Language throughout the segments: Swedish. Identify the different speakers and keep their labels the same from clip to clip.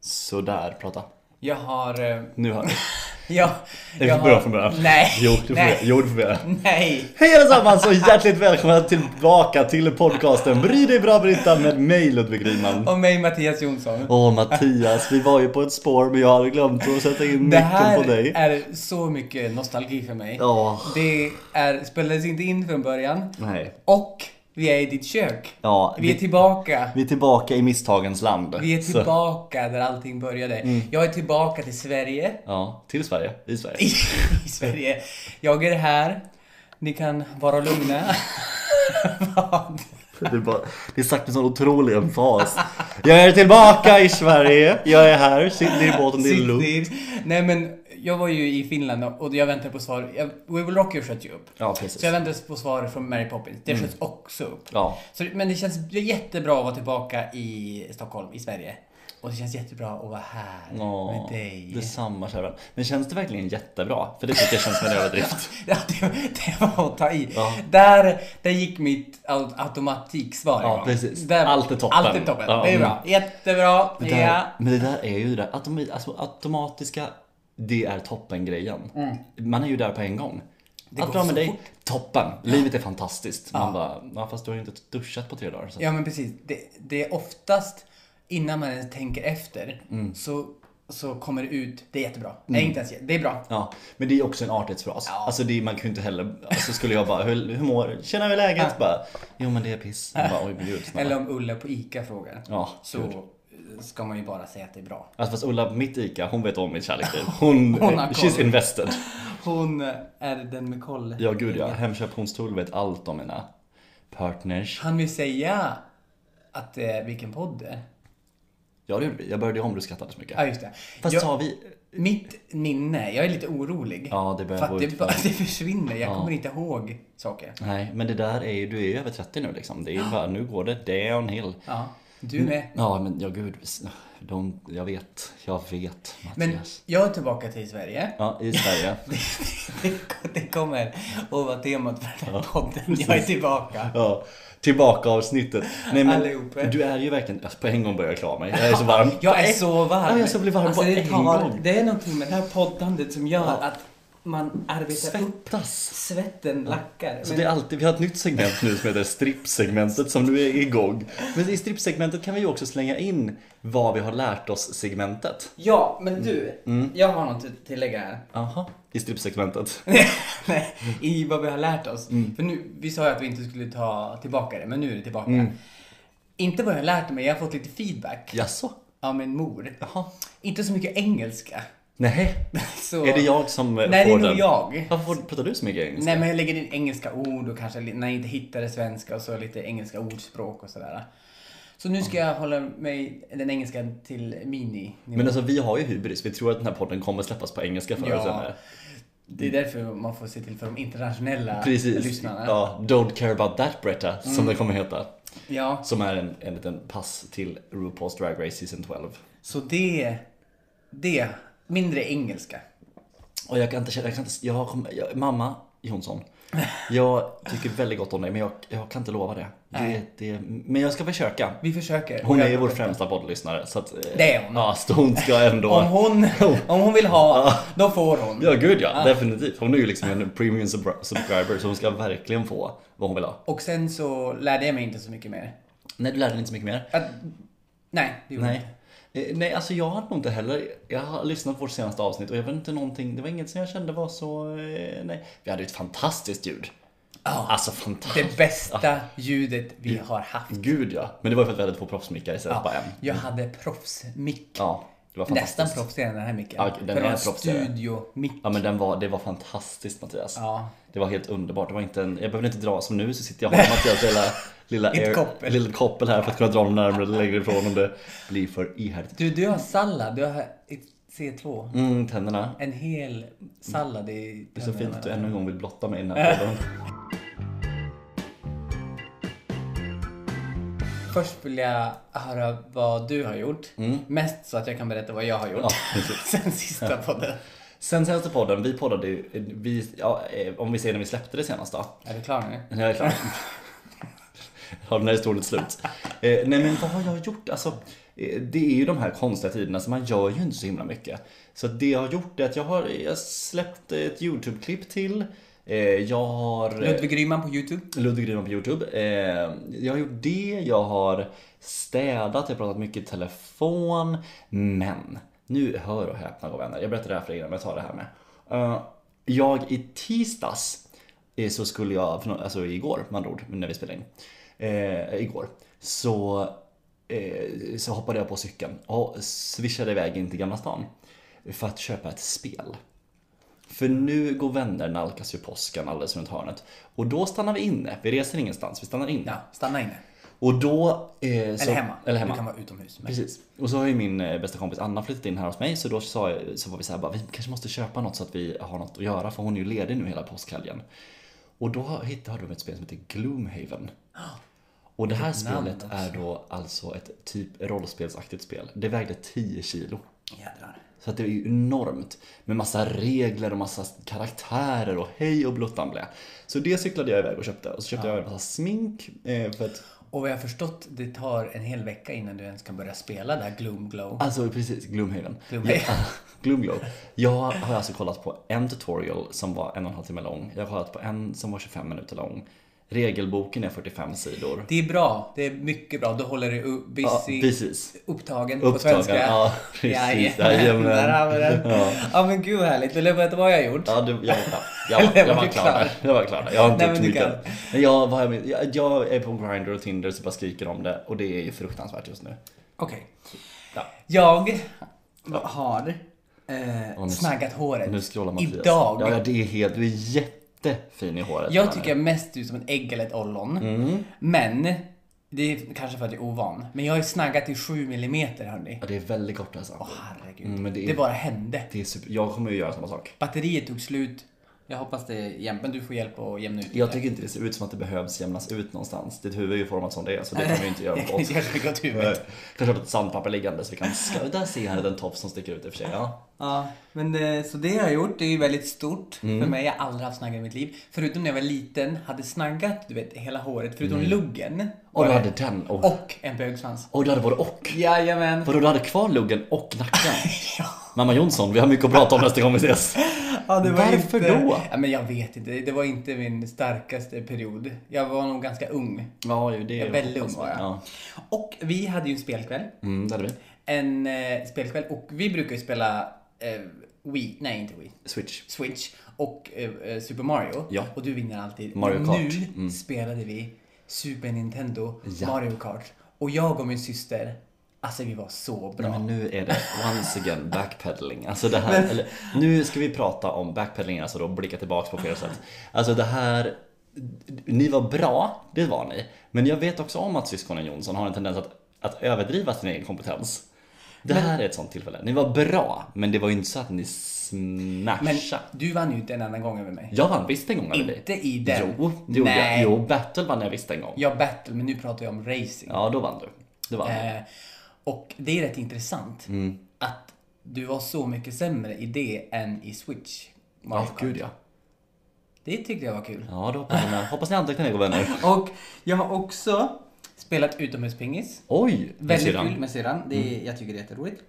Speaker 1: Sådär, prata.
Speaker 2: Jag har... eh,
Speaker 1: Nu hör du.
Speaker 2: Jag,
Speaker 1: Det
Speaker 2: jag
Speaker 1: är bra från början.
Speaker 2: Nej!
Speaker 1: Jo, du får
Speaker 2: nej,
Speaker 1: göra. Jo, du får göra.
Speaker 2: nej!
Speaker 1: Hej allesammans och hjärtligt välkomna tillbaka till podcasten Bry dig bra Britta med mig Ludvig Riemann.
Speaker 2: Och mig Mattias Jonsson.
Speaker 1: Åh Mattias, vi var ju på ett spår men jag hade glömt att sätta in
Speaker 2: det
Speaker 1: micken
Speaker 2: här
Speaker 1: på dig.
Speaker 2: är så mycket nostalgi för mig.
Speaker 1: Ja,
Speaker 2: Det är, spelades inte in från början.
Speaker 1: nej.
Speaker 2: Och vi är i ditt kök.
Speaker 1: Ja,
Speaker 2: Vi är tillbaka.
Speaker 1: vi är tillbaka i misstagens land.
Speaker 2: Vi är
Speaker 1: Så- Mm.
Speaker 2: tillbaka där allting började. Jag är tillbaka till Sverige.
Speaker 1: Ja, till Sverige. I Sverige.
Speaker 2: I, I Sverige. Jag är här. Ni kan vara lugna. Vad?
Speaker 1: Det är, bara, det är sagt med sån otrolig emfas. Jag är tillbaka i Sverige. Jag är här, sitter i båten, det är lugnt.
Speaker 2: Sydney. Nej men, jag var ju i Finland och jag väntade på svar. Jag, We Will Rock You sköt ju upp.
Speaker 1: Ja,
Speaker 2: Så jag
Speaker 1: precis. Mm.
Speaker 2: väntade på svar från Mary Poppins. Det sköts också upp.
Speaker 1: Ja,
Speaker 2: Så, men det känns jättebra att vara tillbaka i Stockholm, i Sverige. Och det känns jättebra att vara här
Speaker 1: Ja,
Speaker 2: med dig.
Speaker 1: Detsamma kära vän. Men känns det verkligen jättebra? För det tycker jag känns som en överdrift.
Speaker 2: Ja, det, det var att ta i.
Speaker 1: Ja.
Speaker 2: Där, där gick mitt au- automatiksvar
Speaker 1: Ja,
Speaker 2: igång.
Speaker 1: precis.
Speaker 2: Där,
Speaker 1: Allt är toppen.
Speaker 2: Allt är toppen.
Speaker 1: Ja,
Speaker 2: det är
Speaker 1: mm.
Speaker 2: bra. Jättebra.
Speaker 1: Men det,
Speaker 2: Ja.
Speaker 1: där, men det där är ju det där automi, alltså, automatiska, det är toppen-grejen. Man är ju där på en gång.
Speaker 2: Mm. går
Speaker 1: Allt bra med
Speaker 2: så
Speaker 1: dig,
Speaker 2: fort.
Speaker 1: toppen. Livet är fantastiskt. Man bara, ja, fast du har ju inte duschat på tre dagar. Så.
Speaker 2: Ja men precis. Det, det är oftast innan man ens tänker efter
Speaker 1: Mm.
Speaker 2: så, så kommer det ut, det är jättebra. Nej inte ens jä- det är bra.
Speaker 1: Ja, men det är också en artighetsfras. Alltså det, man kan ju inte heller, alltså skulle jag bara, hur, hur mår Tjena hur är läget? Bara, jo men det är piss. Man bara, oj men gud snälla.
Speaker 2: Eller om Ulla på ICA frågar.
Speaker 1: Ja,
Speaker 2: så eh, ska man ju bara säga att det är bra.
Speaker 1: Alltså fast Ulla, mitt ICA, hon vet om mitt kärleksliv. Hon,
Speaker 2: Hon har
Speaker 1: she's
Speaker 2: koll.
Speaker 1: invested.
Speaker 2: Hon eh, är den med koll.
Speaker 1: Ja gud ja, Hemköp Hornstull vet allt om mina partners.
Speaker 2: Han vill säga att eh, vilken podd det är.
Speaker 1: Ja det gjorde vi, jag började om du skrattade så mycket.
Speaker 2: Ja just det.
Speaker 1: Fast
Speaker 2: jag,
Speaker 1: sa vi...
Speaker 2: Mitt minne, jag är lite orolig.
Speaker 1: Ja, det börjar
Speaker 2: för
Speaker 1: gå
Speaker 2: att det,
Speaker 1: ut
Speaker 2: bara- det försvinner, jag kommer inte ihåg saker.
Speaker 1: Nej, men det där är ju, du är ju över 30 nu liksom. Det är ju bara, nu går det downhill.
Speaker 2: Ja,
Speaker 1: Mm.
Speaker 2: du med.
Speaker 1: Ja men ja gud, s- de, jag vet, jag vet Mattias.
Speaker 2: Men jag är tillbaka till Sverige.
Speaker 1: Ja, i Sverige.
Speaker 2: Det kommer att vara temat för den här podden. Jag är tillbaka.
Speaker 1: Ja, tillbaka avsnittet. Nej men
Speaker 2: Allihopa.
Speaker 1: du är ju verkligen, alltså, på en gång börjar jag klara mig. Jag är så varm.
Speaker 2: Jag är så varm.
Speaker 1: Ja, jag ska bli varm
Speaker 2: Alltså,
Speaker 1: på
Speaker 2: det,
Speaker 1: en
Speaker 2: tar-
Speaker 1: gång.
Speaker 2: det är någonting med det här poddandet som gör att man arbetar upp.
Speaker 1: Svettas.
Speaker 2: Svetten lackar.
Speaker 1: Så
Speaker 2: Men
Speaker 1: Alltså, det är alltid, vi har ett nytt segment nu som heter strippsegmentet som nu är igång. Men i strippsegmentet kan vi ju också slänga in vad vi har lärt oss segmentet.
Speaker 2: Ja, men du.
Speaker 1: Mm.
Speaker 2: Jag har något att tillägga här.
Speaker 1: Aha. I strippsegmentet.
Speaker 2: Nej, I vad vi har lärt oss.
Speaker 1: Mm.
Speaker 2: För nu, vi sa ju att vi inte skulle ta tillbaka det, men nu är det tillbaka.
Speaker 1: Mm.
Speaker 2: Inte vad jag har lärt mig, jag har fått lite feedback
Speaker 1: Jaså?
Speaker 2: av min mor.
Speaker 1: Jaha.
Speaker 2: Inte så mycket engelska.
Speaker 1: Nej.
Speaker 2: Så...
Speaker 1: Är det jag som eh,
Speaker 2: Nej, det
Speaker 1: får
Speaker 2: är nog
Speaker 1: den?
Speaker 2: jag.
Speaker 1: Varför får- pratar du så mycket engelska?
Speaker 2: Nej men jag lägger in engelska ord och kanske li- när jag inte hittar det svenska och så lite engelska ordspråk och sådär. Så nu ska jag hålla mig, den engelska till mini.
Speaker 1: Men alltså vi har ju hybris. Vi tror att den här podden kommer släppas på engelska förr eller
Speaker 2: Ja.
Speaker 1: senare.
Speaker 2: Det är därför man får se till för de internationella
Speaker 1: Precis.
Speaker 2: lyssnarna. Mm. Ja.
Speaker 1: Ja, Don't care about that Bretta, som den kommer heta.
Speaker 2: ja,
Speaker 1: Som är en, en liten pass till RuPaul's Drag Race Season 12.
Speaker 2: så det, det, mindre engelska.
Speaker 1: Och jag kan inte känna, jag kan inte, jag, kommer- jag, mamma Jonsson. Jag tycker väldigt gott om dig men jag, jag kan inte lova det. det, det men jag ska försöka.
Speaker 2: Vi försöker.
Speaker 1: Hon
Speaker 2: Och
Speaker 1: är
Speaker 2: jag-
Speaker 1: ju vår främsta poddlyssnare så att... eh,
Speaker 2: Det är hon.
Speaker 1: Ja, så hon ska ändå...
Speaker 2: Om hon, om hon vill ha, då får hon.
Speaker 1: Ja, gud ja. Definitivt. Hon är ju liksom en premium subscri- subscriber så hon ska verkligen få vad hon vill ha.
Speaker 2: Och sen så lärde jag mig inte så mycket mer.
Speaker 1: Nej, du lärde dig inte så mycket mer.
Speaker 2: Att, nej, det gjorde jag
Speaker 1: Nej. Eh, Nej, alltså jag har nog inte heller, jag har lyssnat på vårt senaste avsnitt och jag vet inte någonting, det var inget som jag kände var så, eh, nej. Vi hade ju ett fantastiskt ljud. Alltså fantastiskt.
Speaker 2: Det bästa ljudet vi har haft.
Speaker 1: Gud ja. Men det var ju för att vi hade två proffsmickar istället för bara en.
Speaker 2: Jag hade proffsmick.
Speaker 1: Ja, det var fantastiskt.
Speaker 2: Nästan proffsigare än den här micken.
Speaker 1: Ja, den
Speaker 2: För
Speaker 1: är
Speaker 2: det var
Speaker 1: proffsigare.
Speaker 2: studiomick.
Speaker 1: Ja men den var, det var fantastiskt Mattias.
Speaker 2: Ja.
Speaker 1: Det var helt underbart. Det var inte en, jag behövde inte dra som nu så sitter jag och har Mattias lilla, lilla,
Speaker 2: Ett koppel.
Speaker 1: lilla koppel här för att kunna dra dem närmare eller längre ifrån om det blir för ihärdigt.
Speaker 2: Du, du har sallad. Du har ett C2.
Speaker 1: Mm, tänderna.
Speaker 2: En hel sallad i
Speaker 1: Det är så fint att du ännu en gång vill blotta mig i den
Speaker 2: Ja.
Speaker 1: här podden.
Speaker 2: Först vill jag höra vad du har gjort.
Speaker 1: Mm.
Speaker 2: Mest så att jag kan berätta vad jag har gjort. Sen sista podden.
Speaker 1: Sen senaste podden, vi poddade ju, vi, ja, eh, om vi säger när vi släppte det senast då.
Speaker 2: Är du klar nu?
Speaker 1: När jag är klar. har den här historien slut. Eh, nej men vad har jag gjort? Alltså, eh, det är ju de här konstiga tiderna så man gör ju inte så himla mycket. Så det jag har gjort är att jag har jag har släppt ett YouTube-klipp till. Eh, jag har...
Speaker 2: Ludvig Ryman på Youtube.
Speaker 1: Ludvig Rydman på Youtube. Eh, jag har gjort det, jag har städat, jag har pratat mycket i telefon. Men, nu hör och häpna goda vänner. Jag berättade det här för er innan, men jag tar det här med. Eh, jag i tisdags, eh, så skulle jag, för nå- alltså igår med andra ord, när vi spelade in. Eh, igår. Så, eh, så hoppade jag på cykeln och swishade iväg in till Gamla stan. För att köpa ett spel. För nu går vänner nalkas ju påsken alldeles runt hörnet. Och då stannar vi inne. Vi reser ingenstans, vi stannar inne.
Speaker 2: Ja, stanna inne.
Speaker 1: Och då... Eh, så,
Speaker 2: Eller hemma.
Speaker 1: Eller hemma.
Speaker 2: Du kan vara utomhus. Men...
Speaker 1: Precis. Och så har ju min eh, bästa kompis Anna flyttat in här hos mig så då sa jag, så var vi så här, bara, vi kanske måste köpa något så att vi har något att göra för hon är ju ledig nu hela påskhelgen. Och då har- hittade de ett spel som heter Gloomhaven. Och det här spelet
Speaker 2: Ah. namn
Speaker 1: är då alltså ett typ rollspelsaktigt spel. Det vägde 10 kilo.
Speaker 2: Jädrar.
Speaker 1: Så att det är ju enormt med massa regler och massa karaktärer och hej och blottan blä. Så det cyklade jag iväg och köpte och så köpte jag en massa smink eh, för att
Speaker 2: Och vad jag har förstått, det tar en hel vecka innan du ens kan börja spela det här Gloom Glow.
Speaker 1: Alltså precis, Gloomhaven.
Speaker 2: Gloomhaven.
Speaker 1: Ja, Gloomglow. Jag har alltså kollat på en tutorial som var en och en halv timme lång. Jag har kollat på en som var 25 minuter lång. Regelboken är 45 sidor.
Speaker 2: Det är bra. Det är mycket bra. Du håller dig u- busy,
Speaker 1: Ja, precis.
Speaker 2: upptagen, på
Speaker 1: Upptagen,
Speaker 2: svenska.
Speaker 1: ja, precis.
Speaker 2: Jajamän.
Speaker 1: Jajamän.
Speaker 2: Där har vi den.
Speaker 1: Ja.
Speaker 2: Ja, men gud vad härligt. Vill du veta vad jag har gjort?
Speaker 1: Ja, du, jag var klar. Jag var, jag var klar där. Jag var klar där. Jag har inte gjort
Speaker 2: Nej,
Speaker 1: så
Speaker 2: men du
Speaker 1: mycket.
Speaker 2: kan.
Speaker 1: Men jag, vad har jag, med- jag, jag är på Grindr och Tinder så bara skriker om det och det är ju fruktansvärt just nu.
Speaker 2: Okej.
Speaker 1: Ja.
Speaker 2: Jag har eh,
Speaker 1: nu-
Speaker 2: snaggat håret
Speaker 1: Nu scrollar Mattias.
Speaker 2: idag.
Speaker 1: Ja, det är helt, du är jättefin i håret.
Speaker 2: Jag tycker jag mest ut som ett ägg eller ett ollon.
Speaker 1: Mm.
Speaker 2: Men, det är kanske för att jag är ovan. Men jag har ju snaggat i 7 millimeter hörni.
Speaker 1: Ja, det är väldigt kort alltså.
Speaker 2: Åh, herregud.
Speaker 1: Mm, men det är-
Speaker 2: Det bara hände.
Speaker 1: Det är super, jag kommer ju göra samma sak.
Speaker 2: Batteriet tog slut. Jag hoppas det är jämnt, men du får hjälp att jämna ut.
Speaker 1: Jag tycker inte det ser ut som att det behövs jämnas ut någonstans. Ditt huvud är ju format som det är så det kan vi ju inte göra
Speaker 2: Jag
Speaker 1: något
Speaker 2: kan
Speaker 1: åt.
Speaker 2: inte göra så mycket åt
Speaker 1: Nej.
Speaker 2: huvudet.
Speaker 1: Kanske har ett sandpapper liggande så vi kan... Ska, där ser jag den topp som sticker ut i och för sig. Ja.
Speaker 2: Ja, men det, så det har jag gjort. Det är ju väldigt stort
Speaker 1: Mm.
Speaker 2: för mig. Jag har aldrig haft snaggar i mitt liv. Förutom när jag var liten, hade snaggat du vet, hela håret, förutom luggen.
Speaker 1: Mm. Och du
Speaker 2: Bara-
Speaker 1: hade den och... och.
Speaker 2: och en bögsvans.
Speaker 1: du hade både och.
Speaker 2: Jajamän.
Speaker 1: Vadå, du hade kvar luggen och nacken?
Speaker 2: Ja.
Speaker 1: Mamma Jonsson, vi har mycket att prata om nästa gång vi ses.
Speaker 2: Ja, det var
Speaker 1: Varför
Speaker 2: inte,
Speaker 1: då?
Speaker 2: Ja, men jag vet inte. Det var inte min starkaste period. Jag var nog ganska ung.
Speaker 1: Ja, ju det är
Speaker 2: Väldigt ung var jag.
Speaker 1: Ja.
Speaker 2: Och vi hade ju en spelkväll.
Speaker 1: Mm, det hade vi.
Speaker 2: En eh, spelkväll. Och vi brukar ju spela eh, Wii. Nej, inte Wii.
Speaker 1: Switch.
Speaker 2: Switch och eh, eh, Super Mario.
Speaker 1: Ja.
Speaker 2: Och du vinner alltid.
Speaker 1: Mario
Speaker 2: Men
Speaker 1: Kart. Mm.
Speaker 2: Nu spelade vi Super Nintendo,
Speaker 1: Ja.
Speaker 2: Mario Kart. Och jag och min syster, alltså vi var så bra.
Speaker 1: Nej, men nu är det once again backpedaling. Alltså det här, eller, nu ska vi prata om backpedaling, alltså då blicka tillbaks på flera sätt. Alltså det här, ni var bra, det var ni. Men jag vet också om att syskonen Jonsson har en tendens att, att överdriva sin egen kompetens. Det här är ett sånt tillfälle. Ni var bra, men det var ju inte så att ni smashade.
Speaker 2: Men du vann ju inte en annan gång över mig.
Speaker 1: Jag vann visst en gång över dig.
Speaker 2: Inte i den.
Speaker 1: Jo, det gjorde
Speaker 2: Nej.
Speaker 1: jag. Jo, battle vann jag visst en gång.
Speaker 2: Jag battle, men nu pratar jag om racing.
Speaker 1: Ja, då vann du. Det vann du.
Speaker 2: Eh, och det är rätt intressant
Speaker 1: Mm.
Speaker 2: att du var så mycket sämre i det än i Switch. Mario
Speaker 1: Ja,
Speaker 2: Kart.
Speaker 1: gud ja.
Speaker 2: Det tyckte jag var kul.
Speaker 1: Ja, då hoppas jag. Hoppas ni antecknar det, goda vänner.
Speaker 2: Och jag har också spelat utomhuspingis.
Speaker 1: Oj! det
Speaker 2: Väldigt
Speaker 1: ser han.
Speaker 2: kul med syrran. Mm. Det är, Jag tycker det är jätteroligt.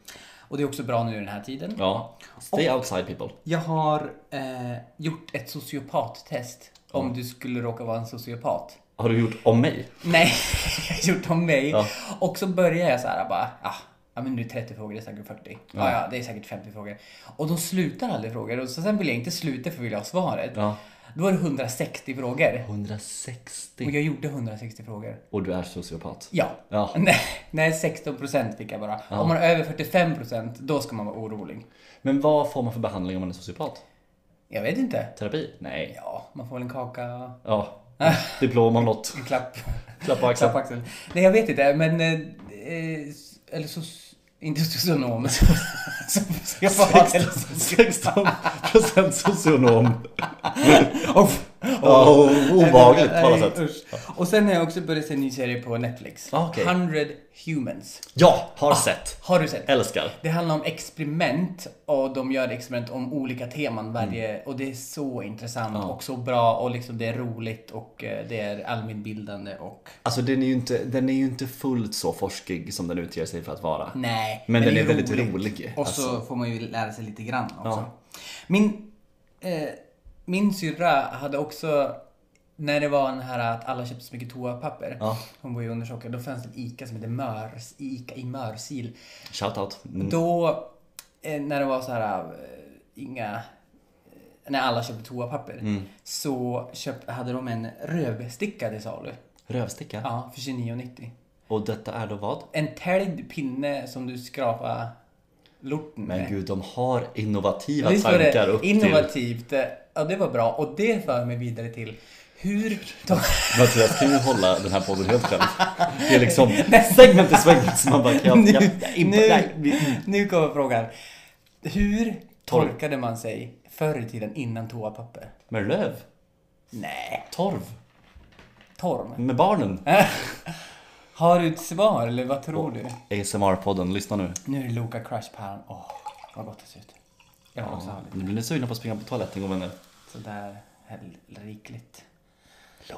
Speaker 2: Och det är också bra nu i den här tiden.
Speaker 1: Ja. Stay outside people.
Speaker 2: Jag har eh, gjort ett sociopattest. Om du skulle råka vara en sociopat.
Speaker 1: Har du gjort om mig?
Speaker 2: Nej, jag har gjort om mig.
Speaker 1: Ja.
Speaker 2: Och så börjar jag så här bara, ah, ja men nu är 30 frågor, det är säkert 40. Ja. ja, det är säkert 50 frågor. Och de slutar aldrig frågor. Och så sen vill jag inte sluta för vill jag ha svaret.
Speaker 1: Ja.
Speaker 2: Då är det 160 frågor.
Speaker 1: 160.
Speaker 2: Och jag gjorde 160 frågor.
Speaker 1: Och du är sociopat.
Speaker 2: Ja.
Speaker 1: Ja.
Speaker 2: Nej, nej, 16% fick jag bara. Om man är över 45% då ska man vara orolig.
Speaker 1: Men vad får man för behandling om man är sociopat?
Speaker 2: Jag vet inte.
Speaker 1: Terapi? Nej.
Speaker 2: Ja, man får väl en kaka,
Speaker 1: Ja. Diplom om något.
Speaker 2: en klapp,
Speaker 1: Klapp på
Speaker 2: klapp på
Speaker 1: axeln.
Speaker 2: axeln. Nej, jag vet inte, men... eh, Eh, s- eller så... Inte socionom. so- Sociopat eller
Speaker 1: 16 procent socionom.
Speaker 2: socionom.
Speaker 1: Ja, o- obehagligt på alla
Speaker 2: Nej,
Speaker 1: sätt.
Speaker 2: usch. Och sen har jag också börjat se en ny serie på Netflix.
Speaker 1: Ah, okej.
Speaker 2: 100 Humans.
Speaker 1: Ja, har sett.
Speaker 2: Har du sett?
Speaker 1: Älskar.
Speaker 2: Det handlar om experiment och de gör experiment om olika teman varje
Speaker 1: Mm.
Speaker 2: och det är så intressant och så bra och liksom det är roligt och eh, det är allmänbildande och
Speaker 1: Alltså den är ju inte, den är ju inte fullt så forskig som den utger sig för att vara.
Speaker 2: nej.
Speaker 1: Men
Speaker 2: det
Speaker 1: den
Speaker 2: ju
Speaker 1: är väldigt rolig, Alltså-
Speaker 2: Och så får man ju lära sig lite grann också. Min, eh, min syrra hade också när det var den här att alla köpte så mycket toapapper.
Speaker 1: Ja.
Speaker 2: Hon bor ju i Undersåker. Då fanns det en ICA som hette Mörs, ICA i Mörsil.
Speaker 1: Shoutout. Mm.
Speaker 2: Då, eh, när det var så här, eh, inga, eh, när alla köpte toapapper,
Speaker 1: Mm.
Speaker 2: så köpt, hade de en rövsticka till salu.
Speaker 1: Rövsticka.
Speaker 2: Ja, för 29,90.
Speaker 1: Och detta är då vad?
Speaker 2: En täljd pinne som du skrapar lorten
Speaker 1: Men
Speaker 2: med.
Speaker 1: gud, de har innovativa
Speaker 2: Visst var
Speaker 1: tankar
Speaker 2: det
Speaker 1: upp till...
Speaker 2: innovativt? eh, Ja, det var bra. Och det för mig vidare till hur... De...
Speaker 1: Mattias kan ju hålla den här podden helt själv. Det är liksom segment i segment som man bara kan...
Speaker 2: nu,
Speaker 1: Jag, jag, imp- nej, Mm.
Speaker 2: nu, nu kommer frågan. Hur tolkade man sig förr i tiden innan toapapper?
Speaker 1: Med löv?
Speaker 2: Nej,
Speaker 1: Torv?
Speaker 2: torv.
Speaker 1: Med barnen?
Speaker 2: Har du ett svar eller vad tror du?
Speaker 1: ASMR-podden, lyssna nu.
Speaker 2: Nu är det Loka Crush på handen. Åh, vad gott det ser ut. Jag vill också ha lite.
Speaker 1: Nu blir ni sugna på att springa på toaletten, goda vänner.
Speaker 2: Sådär hällrikligt.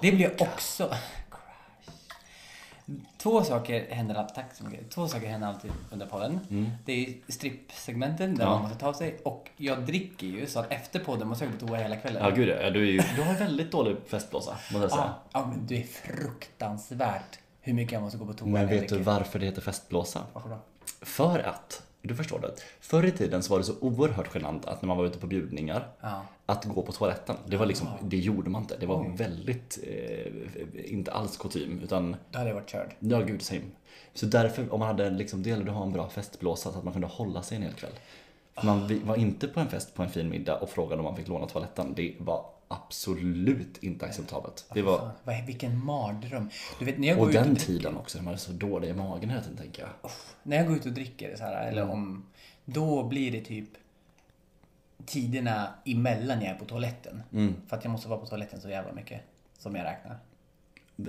Speaker 2: Det blir också... Crush. Två saker händer alltid. Tack så mycket. Två saker händer alltid under podden. Det är ju strippsegmenten där
Speaker 1: Mm. Ja.
Speaker 2: man måste ta sig. Och jag dricker ju så att efter podden måste jag gå på toa hela kvällen.
Speaker 1: Ja, gud alltså. ja. Du, är ju, du har väldigt dålig festblåsa, måste jag säga.
Speaker 2: Ja, ja, men det är fruktansvärt hur mycket jag måste gå på toa.
Speaker 1: Men
Speaker 2: när jag
Speaker 1: vet du
Speaker 2: dricker.
Speaker 1: varför det heter festblåsa?
Speaker 2: Varför då?
Speaker 1: För att, du förstår det. Förr i tiden så var det så oerhört genant att när man var ute på bjudningar
Speaker 2: Ja.
Speaker 1: att gå på toaletten. Det var liksom, det gjorde man inte. Det var väldigt, eh, inte alls kutym utan,
Speaker 2: Då hade jag varit körd.
Speaker 1: ja gud same. Så därför, om man hade liksom, det gällde att ha en bra festblåsa så att man kunde hålla sig en hel kväll. För Man vi- var inte på en fest på en fin middag och frågade om man fick låna toaletten. Det var absolut inte acceptabelt. Det var,
Speaker 2: Fan, vad- vilken mardröm. Du vet när jag går
Speaker 1: och
Speaker 2: ut och
Speaker 1: den tiden också, när man är så dålig i magen hela tiden tänker jag.
Speaker 2: När jag går ut och dricker så här,
Speaker 1: Mm.
Speaker 2: eller om, då blir det typ tiderna emellan jag är på toaletten.
Speaker 1: Mm.
Speaker 2: För att jag måste vara på toaletten så jävla mycket. Som jag räknar.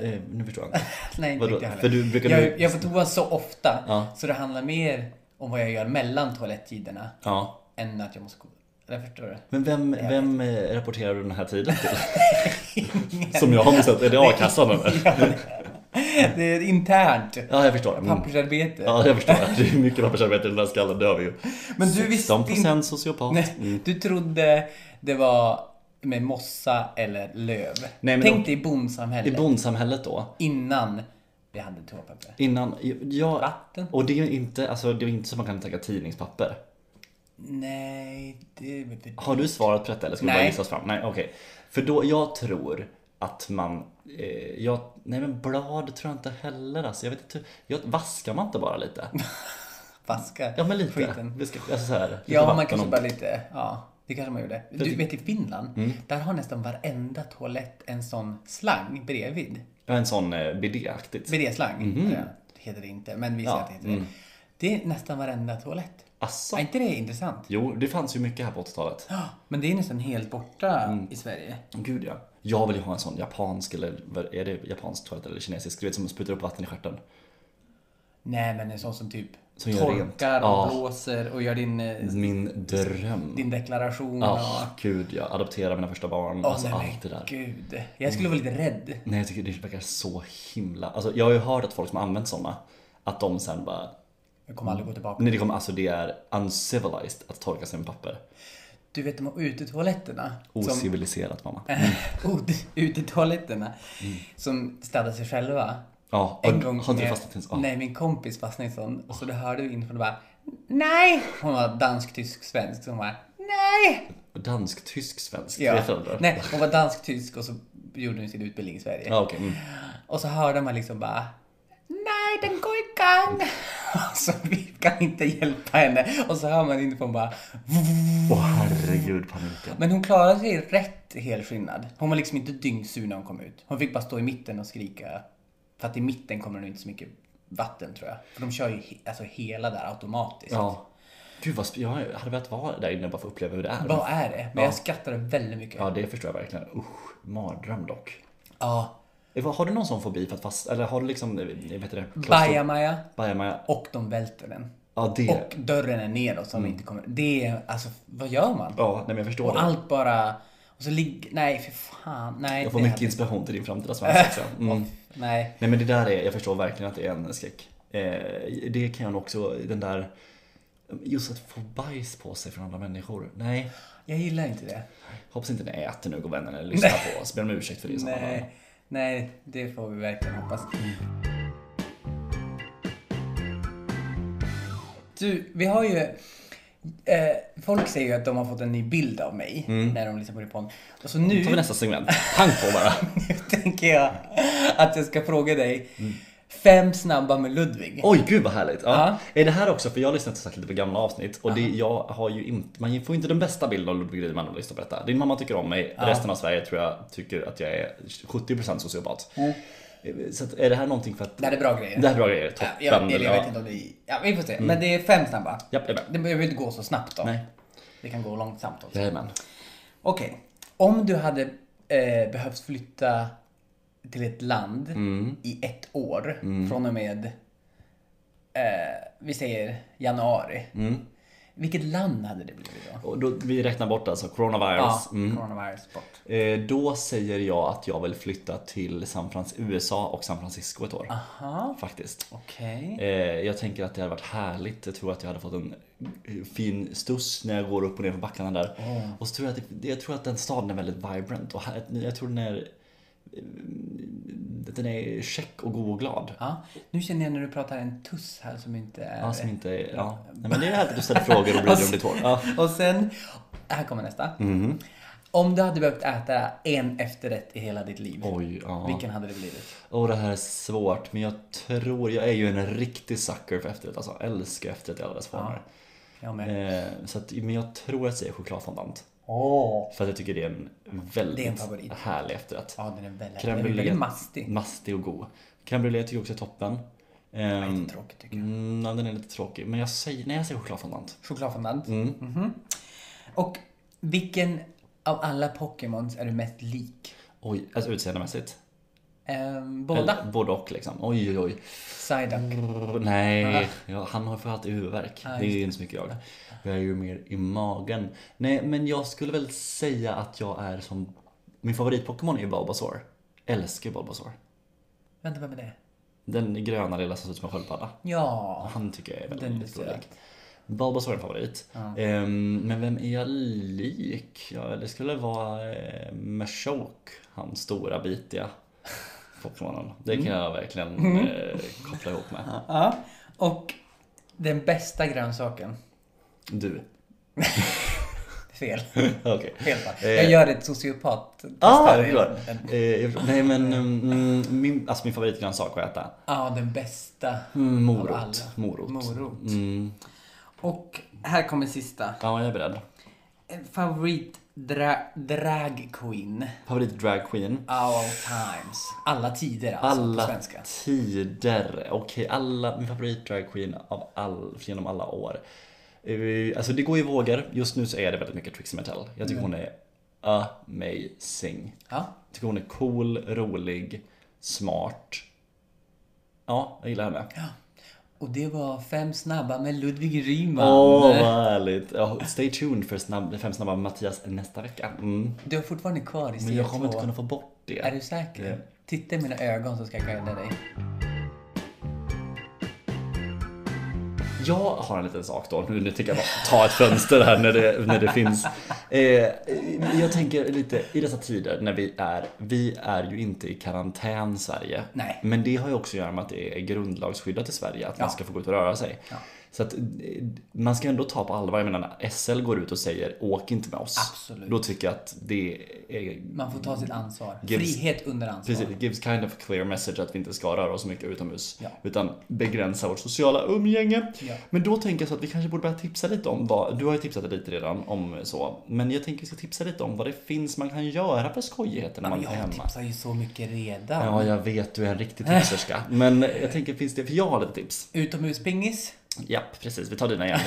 Speaker 1: Eh, nu förstår jag inte.
Speaker 2: Nej, inte
Speaker 1: Vadå?
Speaker 2: riktigt heller.
Speaker 1: För du brukar
Speaker 2: jag,
Speaker 1: du-
Speaker 2: jag får toa så ofta,
Speaker 1: Ja.
Speaker 2: så det handlar mer om vad jag gör mellan toalettiderna
Speaker 1: Ja.
Speaker 2: än att jag måste gå... Eller förstår du?
Speaker 1: Men vem, vem eh, rapporterar du den här tiden till? Som jag har missat, är det a-kassan eller?
Speaker 2: Ja, det- det är internt
Speaker 1: Ja, jag förstår. Mm.
Speaker 2: pappersarbete.
Speaker 1: Ja, jag förstår. Det är mycket pappersarbete i den här skallen, det har vi ju.
Speaker 2: Men du visste inte-
Speaker 1: 16% sociopat.
Speaker 2: Nej, Du trodde det var med mossa eller löv.
Speaker 1: men
Speaker 2: Tänk
Speaker 1: de-
Speaker 2: dig bondsamhället.
Speaker 1: I bondsamhället då,
Speaker 2: innan vi hade toapapper.
Speaker 1: innan... Jag,
Speaker 2: Vatten?
Speaker 1: Och det är ju inte, alltså, det är inte så man kan tänka tidningspapper.
Speaker 2: Nej, det... typ det-
Speaker 1: Har du svarat på detta eller ska vi
Speaker 2: Nej.
Speaker 1: bara gissa oss fram? Nej, okej. För då, jag tror att man... Eh, jag, nej men blad tror jag inte heller alltså. Jag vet inte, hur- jag, vaskar man inte bara lite?
Speaker 2: Vaska
Speaker 1: Ja men lite.
Speaker 2: skiten.
Speaker 1: Vi ska, alltså så här, lite
Speaker 2: Ja, man
Speaker 1: vatten typ-
Speaker 2: kanske
Speaker 1: om-
Speaker 2: bara lite... Ja, det kanske man gjorde. Du vet i Finland,
Speaker 1: Mm.
Speaker 2: där har nästan varenda toalett en sån slang bredvid.
Speaker 1: Ja, en sån eh, bidé-aktigt.
Speaker 2: Bidé-slang.
Speaker 1: Mhm.
Speaker 2: Ja, det heter det inte, men vi säger att det heter
Speaker 1: mm.
Speaker 2: det. Det är nästan varenda toalett.
Speaker 1: Asså.
Speaker 2: Är inte det intressant?
Speaker 1: Jo, det fanns ju mycket här på 80-talet.
Speaker 2: Ja, Men det är nästan helt borta
Speaker 1: Mm.
Speaker 2: i Sverige.
Speaker 1: Gud ja. Jag vill ju ha en sån japansk eller vad- är det japansk toalett eller kinesisk? Du vet som sprutar upp vatten i stjärten.
Speaker 2: Nej, men en sån som typ
Speaker 1: Som gör rent.
Speaker 2: torkar och
Speaker 1: Ja. Mm.
Speaker 2: blåser och gör din, eh,
Speaker 1: Min dröm.
Speaker 2: din deklaration. och...
Speaker 1: Ah, gud ja. Adoptera mina första barn.
Speaker 2: Åh,
Speaker 1: alltså
Speaker 2: nej, men
Speaker 1: allt det där. Mm.
Speaker 2: Gud. Jag skulle vara lite rädd.
Speaker 1: Nej, jag tycker det verkar så himla... Alltså jag har ju hört att folk som har använt såna, att de sen bara...
Speaker 2: Jag kommer aldrig gå tillbaka.
Speaker 1: Nej, det kommer, alltså det är uncivilized att torka sig med papper.
Speaker 2: Du vet de här utetoaletterna. Som,
Speaker 1: Ociviliserat mamma.
Speaker 2: Ut- utetoaletterna. Som städar sig själva.
Speaker 1: Ja,
Speaker 2: En
Speaker 1: Mm. har-
Speaker 2: gång
Speaker 1: har inte du
Speaker 2: med-
Speaker 1: fastnat i en sån? Oh.
Speaker 2: Nej, min kompis fastnade i en sån. Så det hörde vi inifrån och bara Nej! Hon var dansk, tysk, svensk. Så hon bara Nej!
Speaker 1: Dansk, tysk, svensk. Tre
Speaker 2: Ja.
Speaker 1: föräldrar.
Speaker 2: Nej, hon var dansk, tysk och så gjorde hon sin utbildning i Sverige.
Speaker 1: Ja, okej. Mm.
Speaker 2: Och så hörde man liksom bara Nej, den går i gang! Så vi kan inte hjälpa henne. Och så hör man inifrån bara
Speaker 1: Åh herregud paniken.
Speaker 2: Men hon klarade sig rätt helskinnad. Hon var liksom inte dyngsur när hon kom ut. Hon fick bara stå i mitten och skrika. För att i mitten kommer det nog inte så mycket vatten tror jag. För de kör ju he- alltså hela där automatiskt.
Speaker 1: Ja. Gud vad sp- jag hade velat vara där inne bara för att uppleva hur det är.
Speaker 2: Vad är det? Men
Speaker 1: Ja.
Speaker 2: jag skrattade väldigt mycket.
Speaker 1: Ja,
Speaker 2: Ja.
Speaker 1: det förstår jag verkligen. Usch, mardröm dock. Eh, Har du någon sån fobi för att fast... Eller har du liksom, eh, vet du det?
Speaker 2: Bajamaja
Speaker 1: Bajamaja.
Speaker 2: och de välter den.
Speaker 1: Ja, Mm. det.
Speaker 2: Och dörren är neråt så de inte kommer. Det är, alltså vad gör man?
Speaker 1: Ja, nej men jag förstår
Speaker 2: Och
Speaker 1: det.
Speaker 2: allt bara... Och så ligger... Nej, för fan. Nej.
Speaker 1: Jag får
Speaker 2: det
Speaker 1: mycket
Speaker 2: hade-
Speaker 1: inspiration till din framtida svenska också. Mm.
Speaker 2: Nej.
Speaker 1: Nej men det där är, jag förstår verkligen att det är en skräck. Eh, det kan jag nog också, den där, just att få bajs på sig från andra människor. Nej,
Speaker 2: Jag gillar inte det.
Speaker 1: hoppas inte ni äter nu vänner eller lyssnar på oss. Ber om ursäkt för det i sådana fall.
Speaker 2: Nej. Nej, det får vi verkligen hoppas. Du, vi har ju... Eh, folk säger ju att de har fått en ny bild av mig när de lyssnar på det på Och så
Speaker 1: Då Mm. tar vi
Speaker 2: nu,
Speaker 1: nästa segment. Pang på bara.
Speaker 2: nu tänker jag att jag ska fråga dig fem snabba med Ludvig.
Speaker 1: Mm. Oj gud vad härligt. Ja.
Speaker 2: Ja.
Speaker 1: Är det här också, för jag har lyssnat som sagt lite på gamla avsnitt och det, jag har ju inte, man får inte den bästa bilden av Ludvig Riemann om man lyssnar på detta. Din mamma tycker om mig, resten av Sverige tror jag tycker att jag är 70% sociopat. Så att, är det här någonting för att...
Speaker 2: Det här är bra grejer.
Speaker 1: Det här är bra grejer, toppen. Mm.
Speaker 2: Ja, jag, eller jag
Speaker 1: ja.
Speaker 2: vet inte om det är... Ja, vi får se. Men det är fem snabba.
Speaker 1: Japp, japp.
Speaker 2: Det behöver inte gå så snabbt då.
Speaker 1: Nej.
Speaker 2: Det kan gå långsamt också.
Speaker 1: Jajamän.
Speaker 2: Okej. Om du hade eh, behövt flytta till ett land
Speaker 1: Mm.
Speaker 2: i ett år från och med, eh, vi säger januari.
Speaker 1: Mm.
Speaker 2: Vilket land hade det blivit då?
Speaker 1: Och då, vi räknar bort alltså coronavirus. Mm.
Speaker 2: coronavirus bort.
Speaker 1: Eh, då säger jag att jag vill flytta till San Frans- USA och San Francisco ett år.
Speaker 2: Aha,
Speaker 1: Faktiskt.
Speaker 2: okej.
Speaker 1: Eh, jag tänker att det hade varit härligt. Jag tror att jag hade fått en fin stuss när jag går upp och ner för backarna där. Och så tror jag, att det, jag tror att den staden är väldigt vibrant. Och här, jag tror den är eh, den är check och god och glad.
Speaker 2: Ja, nu känner jag när du pratar en tuss här som inte är...
Speaker 1: Ja, som inte är, ja. Nej, men det är härligt att du ställer frågor och bryr dig om ditt hår. Ja. Mm.
Speaker 2: Och sen, här kommer nästa. Om du hade behövt äta en efterrätt i hela ditt liv,
Speaker 1: Oj, ja.
Speaker 2: vilken hade det blivit?
Speaker 1: Och det här är svårt, men jag tror, jag är ju en riktig sucker för efterrätt, alltså jag älskar efterrätt i alla dess former.
Speaker 2: Jag med.
Speaker 1: Eh, så att, men jag tror att jag säger chokladfondant.
Speaker 2: Åh!
Speaker 1: För att jag tycker det är en väldigt
Speaker 2: Det är en favorit.
Speaker 1: härlig efterrätt.
Speaker 2: Ja, den är väldigt,
Speaker 1: Crème
Speaker 2: den är
Speaker 1: brûlée.
Speaker 2: väldigt mastig.
Speaker 1: Mastig och god. Crème brûlée tycker jag också är toppen.
Speaker 2: Lite
Speaker 1: Ehm,
Speaker 2: Tråkigt tycker jag.
Speaker 1: mm, ja, den är lite tråkig, men jag säger, nej jag säger chokladfondant.
Speaker 2: Chokladfondant.
Speaker 1: Mm.
Speaker 2: Mhm. Och vilken av alla Pokémons är du mest lik?
Speaker 1: Oj, alltså utseendemässigt.
Speaker 2: Ehm, båda.
Speaker 1: Eller Både och liksom. Oj, oj, oj.
Speaker 2: Psyduck.
Speaker 1: Brr, Nej, ja, han har för alltid huvudvärk. det är ju inte så mycket jag. Jag är ju mer i magen. Nej, men jag skulle väl säga att jag är som... Min favoritpokémon är ju Bulbasaur. Älskar Bulbasaur.
Speaker 2: Vänta, vem är det?
Speaker 1: Den gröna lilla som ser ut som en sköldpadda.
Speaker 2: Ja,
Speaker 1: Han tycker jag är
Speaker 2: den är
Speaker 1: väldigt rolig.
Speaker 2: söt.
Speaker 1: Bulbasaur är en favorit. Ehm, men vem är jag lik? Ja, det skulle vara eh, Machoke, han stora bitiga Pokémonen. Det kan jag verkligen eh, koppla ihop med.
Speaker 2: Mm. Ja. Och den bästa grönsaken?
Speaker 1: Du.
Speaker 2: Fel.
Speaker 1: Okej.
Speaker 2: Fel bara.
Speaker 1: Eh.
Speaker 2: Jag gör ett sociopat
Speaker 1: Ah, jag förstår. Eh, jag förstår. Nej men, mm, min, alltså min favoritgrönsak att äta.
Speaker 2: Ja, den bästa.
Speaker 1: Mm,
Speaker 2: Av alla.
Speaker 1: Morot. Morot.
Speaker 2: Morot.
Speaker 1: Mm.
Speaker 2: Och här kommer sista.
Speaker 1: Ja, jag är beredd.
Speaker 2: En Favorit dra- drag queen.
Speaker 1: Favorit drag queen.
Speaker 2: All times. Alla tider alltså på
Speaker 1: Alla
Speaker 2: svenska.
Speaker 1: tider. Okej, alla, min favorit drag queen av all, genom alla år. Eh, Alltså det går i vågor. Just nu så är det väldigt mycket Trixie Mattel. Jag tycker hon är amazing.
Speaker 2: Mm. Ja.
Speaker 1: Jag tycker hon är cool, rolig, smart. Ja, jag gillar henne.
Speaker 2: Och det var Fem snabba med Ludvig Ryman.
Speaker 1: Åh, vad härligt. Ja, stay tuned för snabb, Fem snabba med Mattias nästa vecka. Mm.
Speaker 2: Du har fortfarande kvar i
Speaker 1: Men
Speaker 2: serie
Speaker 1: jag kommer inte
Speaker 2: två.
Speaker 1: kunna få bort det.
Speaker 2: Är du säker?
Speaker 1: Ja.
Speaker 2: Titta i mina ögon så ska jag guida dig.
Speaker 1: Jag har en liten sak då, nu nu tänker jag bara ta ett fönster här när det, när det finns. Eh, jag tänker lite i dessa tider när vi är, vi är ju inte i karantän Sverige.
Speaker 2: Nej.
Speaker 1: Men det har ju också att göra med att det är grundlagsskyddat i Sverige, att man
Speaker 2: Ja.
Speaker 1: ska få gå ut och röra sig. Så att eh, man ska ändå ta på allvar, jag menar när SL går ut och säger åk inte med oss.
Speaker 2: Absolut.
Speaker 1: Då tycker jag att det är
Speaker 2: Man får ta sitt ansvar.
Speaker 1: Gives-
Speaker 2: Frihet under ansvar.
Speaker 1: Precis, it gives kind of a clear message att vi inte ska röra oss så mycket utomhus.
Speaker 2: Ja.
Speaker 1: Utan begränsa vårt sociala umgänge.
Speaker 2: Ja.
Speaker 1: Men då tänker jag så att vi kanske borde börja tipsa lite om vad, du har ju tipsat lite redan om så. Men jag tänker vi ska tipsa lite om vad det finns man kan göra för skojigheter när
Speaker 2: Men
Speaker 1: man är
Speaker 2: jag
Speaker 1: hemma.
Speaker 2: tipsar ju så mycket redan.
Speaker 1: Ja, jag vet du är en riktig tipserska. Men jag tänker, finns det, för jag har lite tips.
Speaker 2: Utomhuspingis?
Speaker 1: Japp, precis. Vi tar dina igen.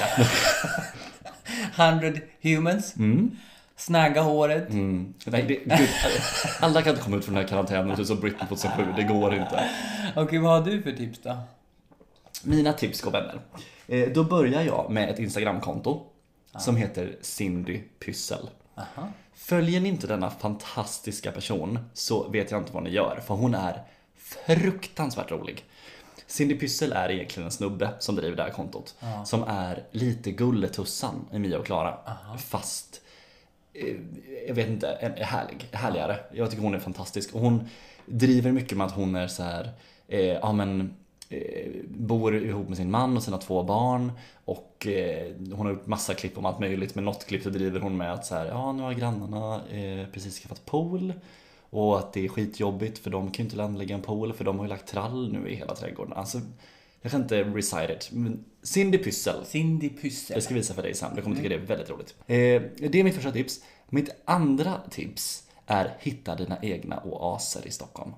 Speaker 2: 100 humans. Snagga håret.
Speaker 1: Mm. Nej, det, gud, alla kan inte komma ut från den här karantänen typ som Britney 2007. Det går inte.
Speaker 2: Okej, vad har du för tips då?
Speaker 1: Mina tips och vänner. Eh, Då börjar jag med ett Instagramkonto som heter Cindy Pyssel.
Speaker 2: Aha.
Speaker 1: Följer ni inte denna fantastiska person så vet jag inte vad ni gör för hon är fruktansvärt rolig. Cindy Pyssel är egentligen en snubbe som driver det här kontot. Som är lite Gulletussan i Mia och Klara. Fast, eh, jag vet inte, en härlig, härligare. Jag tycker hon är fantastisk. Och hon driver mycket med att hon är så här, eh, ja men eh, bor ihop med sin man och sina två barn och eh, hon har gjort massa klipp om allt möjligt men något klipp så driver hon med att så här, ja nu har grannarna eh, precis skaffat pool och att det är skitjobbigt för de kan ju inte anlägga en pool för de har ju lagt trall nu i hela trädgården. Alltså, jag kan inte recite it. Men Cindy Pyssel.
Speaker 2: Cindy
Speaker 1: Jag
Speaker 2: Pyssel.
Speaker 1: ska visa för dig sen, du kommer
Speaker 2: Mm.
Speaker 1: tycka det är väldigt roligt. Eh, det är mitt första tips. Mitt andra tips är hitta dina egna oaser i Stockholm.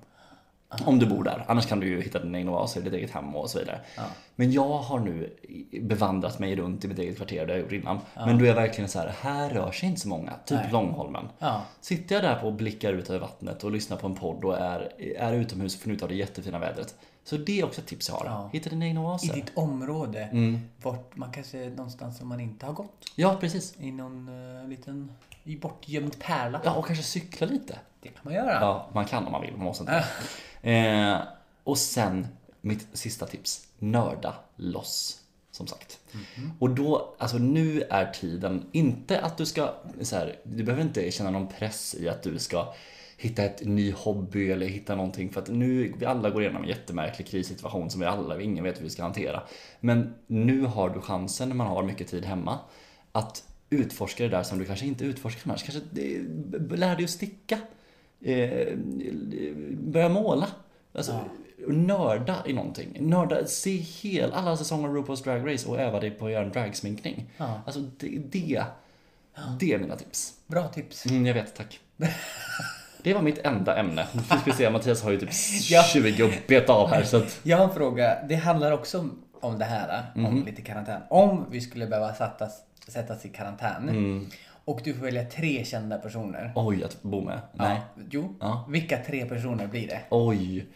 Speaker 2: Ah.
Speaker 1: Om du bor där, annars kan du ju hitta dina egna oaser i ditt eget hem och så vidare.
Speaker 2: Ah.
Speaker 1: Men jag har nu bevandrat mig runt i mitt eget kvarter, det har jag gjort innan.
Speaker 2: Ah.
Speaker 1: Men då är jag verkligen så här, här rör sig inte så många, typ Långholmen.
Speaker 2: Ja.
Speaker 1: Sitter jag där och blickar ut över vattnet och lyssnar på en podd och är, är utomhus och får njuta av det jättefina vädret. Så det är också ett tips jag har.
Speaker 2: Ja.
Speaker 1: Hitta dina egna
Speaker 2: I
Speaker 1: oaser.
Speaker 2: ditt område.
Speaker 1: Mm.
Speaker 2: Vart man kanske någonstans som man inte har gått.
Speaker 1: Ja, precis.
Speaker 2: I någon eh, liten i bortgömd pärla.
Speaker 1: Ja, och kanske cykla lite.
Speaker 2: Det kan man göra.
Speaker 1: Ja, man kan om man vill, man måste inte. eh, och sen, mitt sista tips. Nörda loss. Som sagt. Och då, alltså nu är tiden, inte att du ska, så här, du behöver inte känna någon press i att du ska hitta ett ny hobby eller hitta någonting för att nu, vi alla går igenom en jättemärklig krissituation som vi alla, ingen vet hur vi ska hantera. Men nu har du chansen när man har mycket tid hemma att utforska det där som du kanske inte utforskar annars. Kanske det, b- b- lär dig att sticka eh, börja måla. Alltså, Nörda i någonting. Nörda, se hel, alla säsonger av RuPaul's Drag Race och öva dig på att göra en dragsminkning.
Speaker 2: Ja.
Speaker 1: Alltså det, det, det är mina tips.
Speaker 2: Bra tips.
Speaker 1: Mm, jag vet, tack. Det var mitt enda ämne. Vi ska se, Mattias har ju typ
Speaker 2: Ja.
Speaker 1: 20 och bet av här så att...
Speaker 2: Jag har en fråga. Det handlar också om, om det här. eh,
Speaker 1: Mhm.
Speaker 2: Om lite karantän. Om vi skulle behöva sättas, sättas i karantän.
Speaker 1: Mm.
Speaker 2: Och du får välja tre kända personer.
Speaker 1: Oj, att bo med. Nej.
Speaker 2: Ja, jo.
Speaker 1: Ja.
Speaker 2: Vilka tre personer blir det?
Speaker 1: Oj.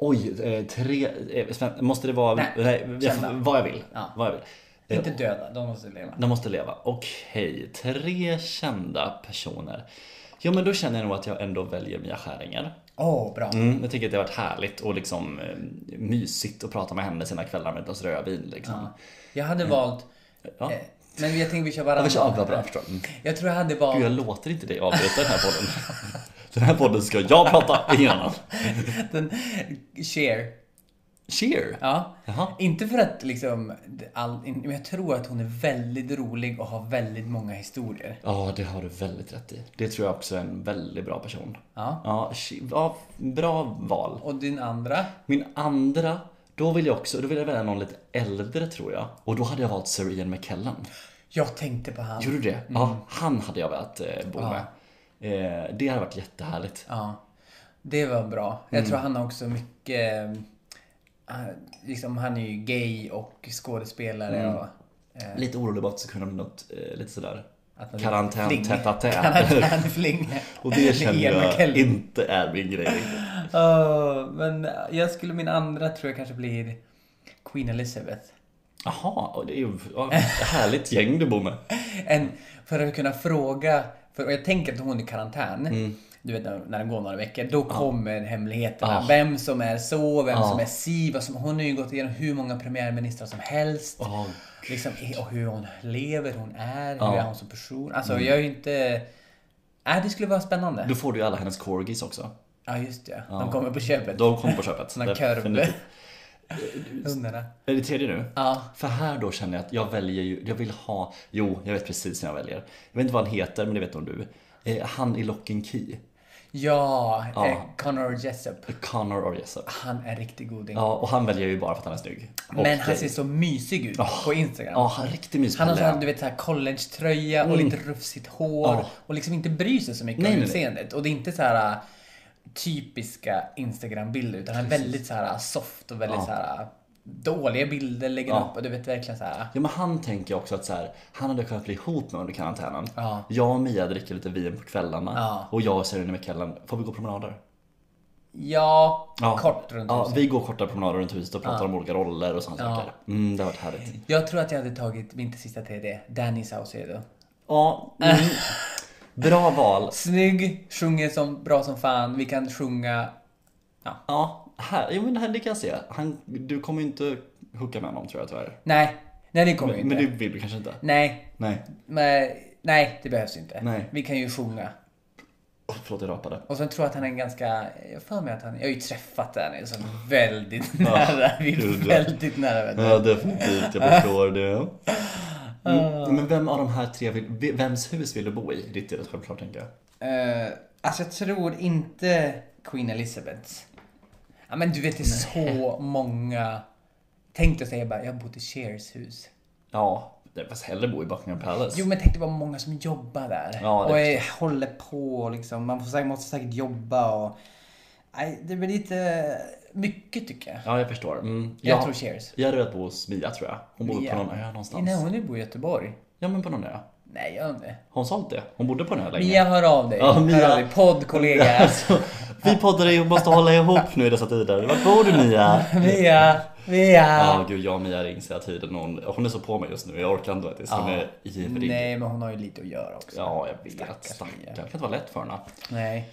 Speaker 1: Oj, eh, tre... eh, Sven, måste det vara...
Speaker 2: Nej,
Speaker 1: jag,
Speaker 2: kända.
Speaker 1: vad jag vill.
Speaker 2: Ja.
Speaker 1: Vad jag vill. Eh,
Speaker 2: Inte döda, de måste leva.
Speaker 1: De måste leva. Okej, tre kända personer. Ja men då känner jag nog att jag ändå väljer Mia Skäringer.
Speaker 2: Åh, bra.
Speaker 1: Mm, jag tycker att det har varit härligt och liksom eh, mysigt att prata med henne sina kvällar med ett glas rödvin liksom.
Speaker 2: Jag hade valt...
Speaker 1: Ja.
Speaker 2: Eh, men jag tänker vi kör
Speaker 1: Ja,
Speaker 2: varannan.
Speaker 1: vi kör av, bra, bra, jag förstår. Mm.
Speaker 2: Jag tror jag hade valt...
Speaker 1: Gud, jag låter inte dig avbryta den här podden. Den här podden ska jag prata, ingen annan.
Speaker 2: Den, share.
Speaker 1: Cheer!
Speaker 2: Ja.
Speaker 1: Jaha.
Speaker 2: Inte för att liksom... All, in- men jag tror att hon är väldigt rolig och har väldigt många historier.
Speaker 1: Ja, det har du väldigt rätt i. Det tror jag också är en väldigt bra person.
Speaker 2: Ja.
Speaker 1: Ja, Che- ja bra val.
Speaker 2: Och din andra?
Speaker 1: Min andra, då vill jag också, då vill jag välja någon lite äldre tror jag. Och då hade jag valt Sir Ian McKellen.
Speaker 2: Jag tänkte på han.
Speaker 1: Gjorde du det? Ja, han hade jag velat eh, bo med. Eh, det hade varit jättehärligt.
Speaker 2: Ja. Det var bra. Jag tror han har också mycket... eh, han- Liksom, han är ju gay och skådespelare och... Eh,
Speaker 1: Lite orolig bara att det skulle kunna bli något eh, lite sådär
Speaker 2: att man-
Speaker 1: karantän
Speaker 2: fling.
Speaker 1: tät à tät.
Speaker 2: Karantänfling.
Speaker 1: Och det känner
Speaker 2: Ian
Speaker 1: jag
Speaker 2: McKellen.
Speaker 1: inte är min grej riktigt.
Speaker 2: Åh, men jag skulle, min andra tror jag kanske blir Queen Elizabeth.
Speaker 1: Jaha, och det är ju ja, härligt gäng du bor med.
Speaker 2: En, för att kunna fråga, för, och jag tänker att hon är i karantän.
Speaker 1: Mm.
Speaker 2: Du vet när, när det går några veckor, då kommer hemligheterna.
Speaker 1: Ah.
Speaker 2: Vem som är så, vem
Speaker 1: Ah.
Speaker 2: som är si, vad som, hon har ju gått igenom hur många premiärministrar som helst.
Speaker 1: Åh,
Speaker 2: Liksom, och hur hon lever, hur hon är,
Speaker 1: Ah. Mm.
Speaker 2: hur är hon som person. Alltså jag är ju inte... Nej, det skulle vara spännande.
Speaker 1: då får du ju alla hennes corgis också.
Speaker 2: Ja, just det. De kommer på köpet.
Speaker 1: De kommer på köpet.
Speaker 2: Såna
Speaker 1: Definitivt.
Speaker 2: kurvor. Hundarna.
Speaker 1: Är det tredje nu?
Speaker 2: Ja.
Speaker 1: För här då känner jag att jag väljer ju, jag vill ha, jo jag vet precis vem jag väljer. Jag vet inte vad han heter men det vet nog du. Eh, han i Lock and Key,
Speaker 2: Ja,
Speaker 1: Ja.
Speaker 2: Eh, Connor Jessup.
Speaker 1: Connor or Jessup.
Speaker 2: Han är riktigt goding.
Speaker 1: Ja och han väljer jag ju bara för att han är snygg. Och
Speaker 2: Men han
Speaker 1: det-
Speaker 2: ser så mysig ut på Instagram.
Speaker 1: Ja, han är riktigt mysig.
Speaker 2: Han har
Speaker 1: på län.
Speaker 2: sån, du vet, så här college-tröja och lite rufsigt hår.
Speaker 1: Ja.
Speaker 2: Och liksom inte bryr sig så mycket
Speaker 1: Mm. Nej,
Speaker 2: om
Speaker 1: nej, nej.
Speaker 2: utseendet. Och det är inte så här äh, typiska Instagram-bilder utan han är äh, väldigt så här soft och väldigt så här dåliga bilder lägger
Speaker 1: Ja.
Speaker 2: upp och du vet verkligen så här.
Speaker 1: Ja men han tänker också att så här, han hade kunnat bli ihop med under karantänen.
Speaker 2: Ja.
Speaker 1: Jag och Mia dricker lite vin på kvällarna
Speaker 2: Ja.
Speaker 1: och jag och Serena McKellen, får vi gå promenader?
Speaker 2: Ja, kort runt
Speaker 1: Ja,
Speaker 2: huset.
Speaker 1: vi går korta promenader runt huset och pratar om olika roller och sånt
Speaker 2: Ja.
Speaker 1: saker. Mm, det har varit härligt.
Speaker 2: Jag tror att jag hade tagit min sista TD, Danny Saucedo.
Speaker 1: Ja, mm. bra val.
Speaker 2: Snygg, sjunger som, bra som fan, vi kan sjunga. Ja.
Speaker 1: Ja, här, jo men det här det kan jag se. Han, du kommer ju inte hooka med honom tror jag tyvärr.
Speaker 2: Nej, nej det kommer ju inte.
Speaker 1: Men det vill du kanske inte?
Speaker 2: Nej,
Speaker 1: Nej.
Speaker 2: men, nej det behövs inte.
Speaker 1: Nej.
Speaker 2: Vi kan ju sjunga.
Speaker 1: Oh, Förlåt jag rapade.
Speaker 2: Och sen tror jag att han är en ganska, jag har för mig att han, jag har ju träffat Danny så väldigt nära, vi
Speaker 1: gud,
Speaker 2: är
Speaker 1: ja.
Speaker 2: väldigt nära vänner.
Speaker 1: Ja definitivt, jag förstår det. Mm, men vem av de här tre, vill, vems hus vill du bo i? Ditt är det självklart tänker jag.
Speaker 2: Eh, alltså jag tror inte Queen Elizabeth. Ja men du vet det är så många. Tänk dig att säga bara, jag har bott i Cheers hus.
Speaker 1: Ja, det fast hellre bo i Buckingham Palace.
Speaker 2: Jo men tänk dig vad många som jobbar där.
Speaker 1: Ja, det
Speaker 2: och är, håller på och liksom. Man får, säkert- måste säkert jobba och. Nej, det blir lite mycket tycker jag.
Speaker 1: Ja, jag förstår. Mm.
Speaker 2: Jag
Speaker 1: Ja,
Speaker 2: tror Cheers.
Speaker 1: Jag hade velat bo hos Mia tror jag. Hon bodde
Speaker 2: Mia.
Speaker 1: på någon ö någonstans.
Speaker 2: Nej hon nu bor i Göteborg.
Speaker 1: Ja, men på någon ö.
Speaker 2: Nej gör inte.
Speaker 1: Har hon sålt det? Hon bodde på en ö länge.
Speaker 2: Mia hör av dig.
Speaker 1: Ja, Mia.
Speaker 2: Hör av dig. Poddkollega.
Speaker 1: Alltså, vi poddare ju måste hålla ihop nu i dessa tider. Vart bor du Mia?
Speaker 2: Mia. Mia.
Speaker 1: Ja, gud jag och Mia rings hela tiden. Hon, hon är så på mig just nu. Jag orkar inte faktiskt. Hon är ivrig.
Speaker 2: Nej men hon har ju lite att göra också.
Speaker 1: Ja, jag vet.
Speaker 2: Stackars
Speaker 1: Stackarn.
Speaker 2: Mia.
Speaker 1: Det kan inte vara lätt för henne.
Speaker 2: Nej.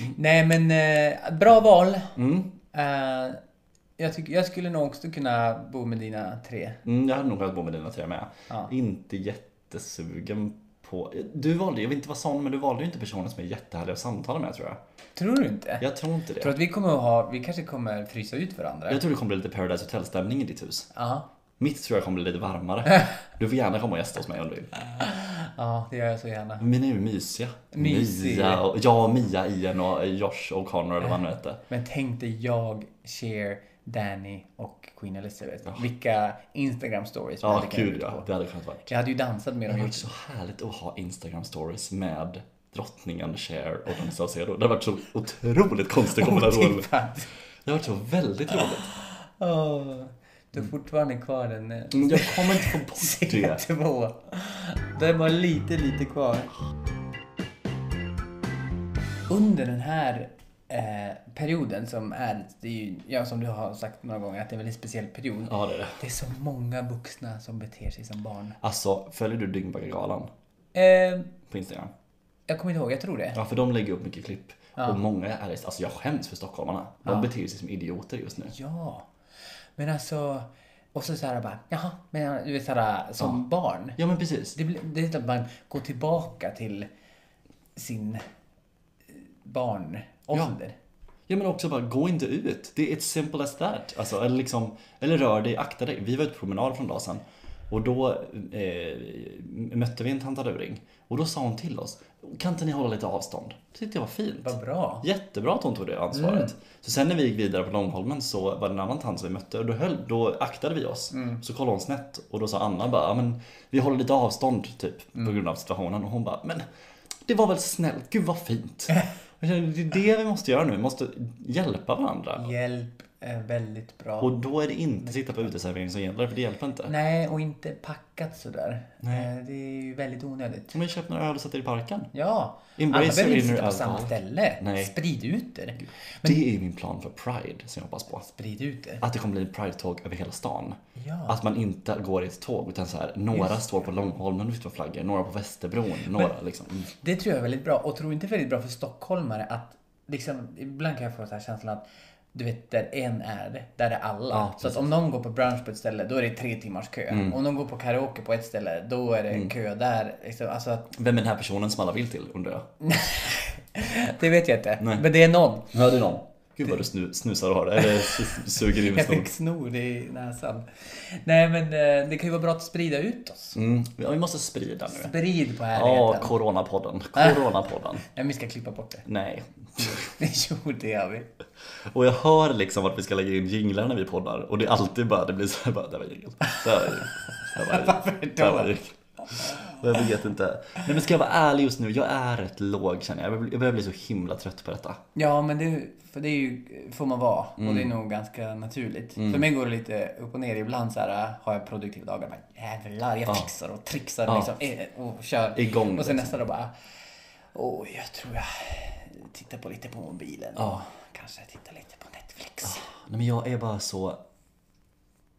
Speaker 1: Mm.
Speaker 2: Nej men eh, bra val. Eh, jag, tycker- jag skulle nog också kunna bo med dina tre.
Speaker 1: Mm, jag hade nog velat bo med dina tre med.
Speaker 2: Ja.
Speaker 1: Inte jättesugen på... Du valde, jag vill inte vara sån, men du valde ju inte personer som är jättehärliga att samtala med tror jag.
Speaker 2: Tror du inte?
Speaker 1: Jag tror inte det.
Speaker 2: Tror att vi kommer att ha, vi kanske kommer frysa ut varandra?
Speaker 1: Jag tror det kommer bli lite Paradise Hotel-stämning i ditt hus.
Speaker 2: Ja.
Speaker 1: Mitt tror jag kommer bli lite varmare. Du får gärna komma och gästa hos mig om du vill.
Speaker 2: Ja, det gör jag så gärna.
Speaker 1: Mina är ju mysiga.
Speaker 2: Mysig.
Speaker 1: Mia och, jag och Mia, Ian och Josh och Connor eller vad han nu hette.
Speaker 2: Men tänk dig jag, Cher, Danny och Queen Elizabeth. Vilka Instagram stories vi
Speaker 1: Ja,
Speaker 2: hade kunnat
Speaker 1: gud
Speaker 2: ut
Speaker 1: ja.
Speaker 2: på.
Speaker 1: Det hade kunnat vara.
Speaker 2: Jag hade ju dansat med
Speaker 1: Det
Speaker 2: dem.
Speaker 1: hade varit så härligt att ha Instagram stories med drottningen Cher och Danny Saucedo. Det hade varit så otroligt konstig kombination.
Speaker 2: Otippat.
Speaker 1: Det har varit så väldigt roligt.
Speaker 2: Åh, Du har fortfarande kvar den eh,
Speaker 1: Mm, Jag kommer inte få bort det.
Speaker 2: C2. Det är bara lite, lite kvar. Under den här eh, perioden som är, det är ju, ja, som du har sagt några gånger, att det är en väldigt speciell period.
Speaker 1: Ja, det är det.
Speaker 2: Det är så många vuxna som beter sig som barn.
Speaker 1: Alltså, följer du Dyngbaggegalan
Speaker 2: Eh,
Speaker 1: på Instagram?
Speaker 2: jag kommer inte ihåg, jag tror det.
Speaker 1: Ja, för de lägger upp mycket klipp. Och många är alltså jag skäms för stockholmarna. De beter sig som idioter just nu.
Speaker 2: Ja. Men alltså, och så såhär bara, jaha, men du vet såhär som barn.
Speaker 1: Ja, men precis.
Speaker 2: Det, blir- det är inte att man går tillbaka till sin eh, barnålder.
Speaker 1: Ja, men också bara, gå inte ut. Det är it's simple as that. Alltså, eller, liksom, eller rör dig, akta dig. Vi var ute på promenad för en dag sedan. Och då eh, mötte vi en tantaruring. Och då sa hon till oss, kan inte ni hålla lite avstånd? Det tyckte jag var fint.
Speaker 2: Vad bra.
Speaker 1: Jättebra att hon tog det ansvaret. Så sen när vi gick vidare på Långholmen så var det en annan tant som vi mötte och då, höll, då aktade vi oss. Så kollade hon snett och då sa Anna bara, "Ja, men vi håller lite avstånd typ på grund av situationen. Och hon bara, men det var väl snällt, gud vad fint. Jag kände, Det är det vi måste göra nu, vi måste hjälpa varandra.
Speaker 2: Hjälp är väldigt bra.
Speaker 1: Och då är det inte sitta på uteservering som gäller, för det hjälper inte.
Speaker 2: Nej, och inte packat sådär. Nej. Det är ju väldigt onödigt.
Speaker 1: Om vi köper några öl och sätter i parken.
Speaker 2: Ja,
Speaker 1: Embrace
Speaker 2: alla behöver
Speaker 1: your
Speaker 2: inte
Speaker 1: inner
Speaker 2: sitta på samma
Speaker 1: alcohol.
Speaker 2: ställe.
Speaker 1: Nej.
Speaker 2: Sprid ut det.
Speaker 1: Det är min plan för Pride som jag hoppas på.
Speaker 2: Sprid ut det.
Speaker 1: Att det kommer bli en Pride-tåg över hela stan.
Speaker 2: Ja.
Speaker 1: Att man inte går i ett tåg utan så här, några står på Långholmen och viftar med flaggor, några på Västerbron, några liksom. Mm.
Speaker 2: Det tror jag är väldigt bra. Och tror inte väldigt bra för stockholmare att liksom, ibland kan jag få så här känslan att du vet, där en är, där är alla. så att om någon går på brunch på ett ställe, då är det tre timmars kö.
Speaker 1: Mm.
Speaker 2: Om någon går på karaoke på ett ställe, då är det kö där. Liksom, alltså att
Speaker 1: Vem är den här personen som alla vill till undrar jag?
Speaker 2: Det vet jag inte. Men det är någon.
Speaker 1: Ja, det är någon. Gud vad du snu, snusar och har det, eller s- suger i min
Speaker 2: Jag
Speaker 1: snor.
Speaker 2: fick snor i näsan. Nej men eh, det kan ju vara bra att sprida ut oss.
Speaker 1: Mm. Ja, vi måste sprida nu.
Speaker 2: Sprid på
Speaker 1: Ja,
Speaker 2: härligheten.
Speaker 1: Coronapodden. Coronapodden.
Speaker 2: Nej, men vi ska klippa bort det.
Speaker 1: Nej.
Speaker 2: jo, det gör vi.
Speaker 1: Och jag hör liksom vart vi ska lägga in jinglar när vi poddar och det är alltid bara, det blir så här bara, där var jingeln. Där var jingeln. Där var jingeln.
Speaker 2: Varför då?
Speaker 1: Där var jingeln. Och jag vet inte. Nej men ska jag vara ärlig just nu, jag är rätt låg känner jag. Jag börjar- Jag börjar bli så himla trött på detta.
Speaker 2: Ja, men det, för det är ju, får man vara. Och det
Speaker 1: Mm.
Speaker 2: är nog ganska naturligt. För mig går det lite upp och ner. Ibland så här, äh, har jag produktiva dagar. Bara, Jävlar, jag fixar och trixar
Speaker 1: Ja.
Speaker 2: liksom, eh, och kör.
Speaker 1: Igång,
Speaker 2: och sen
Speaker 1: liksom.
Speaker 2: nästa dag bara, åh, jag tror jag tittar på lite på mobilen.
Speaker 1: Ja.
Speaker 2: Kanske tittar lite på Netflix.
Speaker 1: Nej men jag är bara så...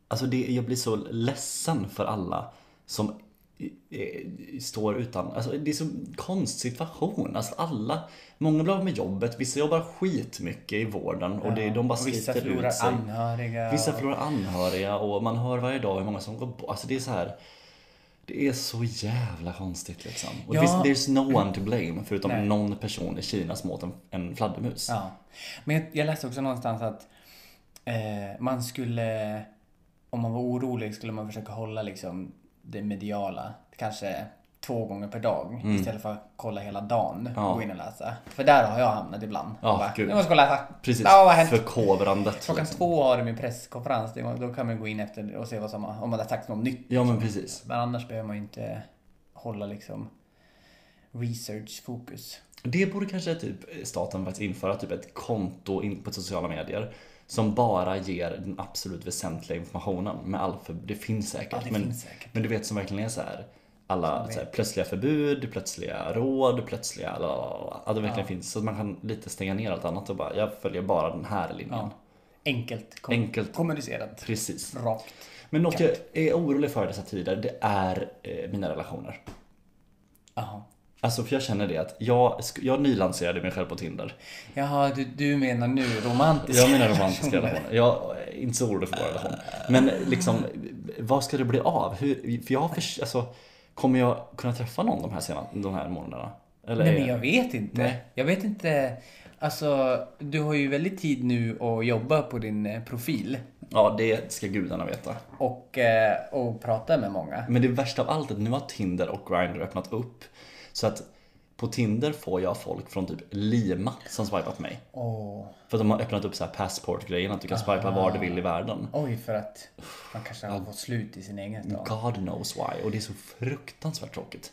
Speaker 1: Alltså det, jag blir så ledsen för alla som i- i- står utan, alltså det är så konst situation. Alltså alla, många blir av med jobbet, vissa jobbar skitmycket i vården och det, de bara
Speaker 2: Och vissa
Speaker 1: sliter
Speaker 2: förlorar
Speaker 1: ut sig.
Speaker 2: anhöriga.
Speaker 1: Vissa
Speaker 2: och-
Speaker 1: förlorar anhöriga och man hör varje dag hur många som går bort. Alltså det är så här. Det är så jävla konstigt liksom. Och
Speaker 2: Ja.
Speaker 1: visst, there's no one to blame förutom
Speaker 2: Nej.
Speaker 1: någon person i Kina som åt en, en fladdermus.
Speaker 2: Ja. Men jag, jag läste också någonstans att eh, man skulle, om man var orolig, skulle man försöka hålla liksom det mediala kanske två gånger per dag istället för att kolla hela dagen
Speaker 1: Mm. Ja.
Speaker 2: och gå in och läsa. För där har jag hamnat ibland.
Speaker 1: Ja,
Speaker 2: Och bara,
Speaker 1: gud.
Speaker 2: Nu måste jag läsa.
Speaker 1: Precis,
Speaker 2: Ja, vad har hänt?
Speaker 1: förkovrandet.
Speaker 2: Klockan
Speaker 1: liksom.
Speaker 2: två har de min presskonferens. Det var- Då kan man gå in efter och se vad som har, om man har sagt något nytt.
Speaker 1: Ja men precis.
Speaker 2: Men annars behöver man ju inte hålla liksom research-fokus.
Speaker 1: Det borde kanske typ staten faktiskt införa, typ ett konto in på sociala medier som bara ger den absolut väsentliga informationen med all för, det finns säkert.
Speaker 2: Ja, det
Speaker 1: men,
Speaker 2: finns säkert.
Speaker 1: men du vet som verkligen är så här alla så här, plötsliga förbud, plötsliga råd, plötsliga la, la, la, la. Att det verkligen finns så att man kan lite stänga ner allt annat och bara jag följer bara den här linjen.
Speaker 2: Ja. Enkelt, kom-
Speaker 1: Enkelt.
Speaker 2: kommunicerat.
Speaker 1: Precis.
Speaker 2: Rakt.
Speaker 1: Men något jag är orolig för i dessa tider det är eh, mina relationer.
Speaker 2: Jaha.
Speaker 1: Alltså för jag känner det att jag, sk- jag nylanserade mig själv på Tinder.
Speaker 2: Jaha, du, du menar nu romantiska
Speaker 1: Jag menar romantiska relationer. Jag är inte så orolig för vår relation. Men liksom, vad ska det bli av? Hur, för jag har förs- alltså, kommer jag kunna träffa någon de här, sena, de här månaderna? Eller
Speaker 2: Nej
Speaker 1: är-
Speaker 2: men jag vet inte.
Speaker 1: Nej.
Speaker 2: Jag vet inte. Alltså, du har ju väldigt tid nu att jobba på din eh, profil
Speaker 1: Ja, det ska gudarna veta.
Speaker 2: och, eh, och prata med många.
Speaker 1: Men det värsta av allt är att nu har Tinder och Grindr öppnat upp. Så att på Tinder får jag folk från typ Lima som swipat mig.
Speaker 2: Åh,
Speaker 1: För att de har öppnat upp så här passport-grejen, att du kan swipa var du vill i världen.
Speaker 2: oj, för att man kanske har fått slut i sin
Speaker 1: Mm.
Speaker 2: egen stad.
Speaker 1: God knows why. Och det är så fruktansvärt tråkigt.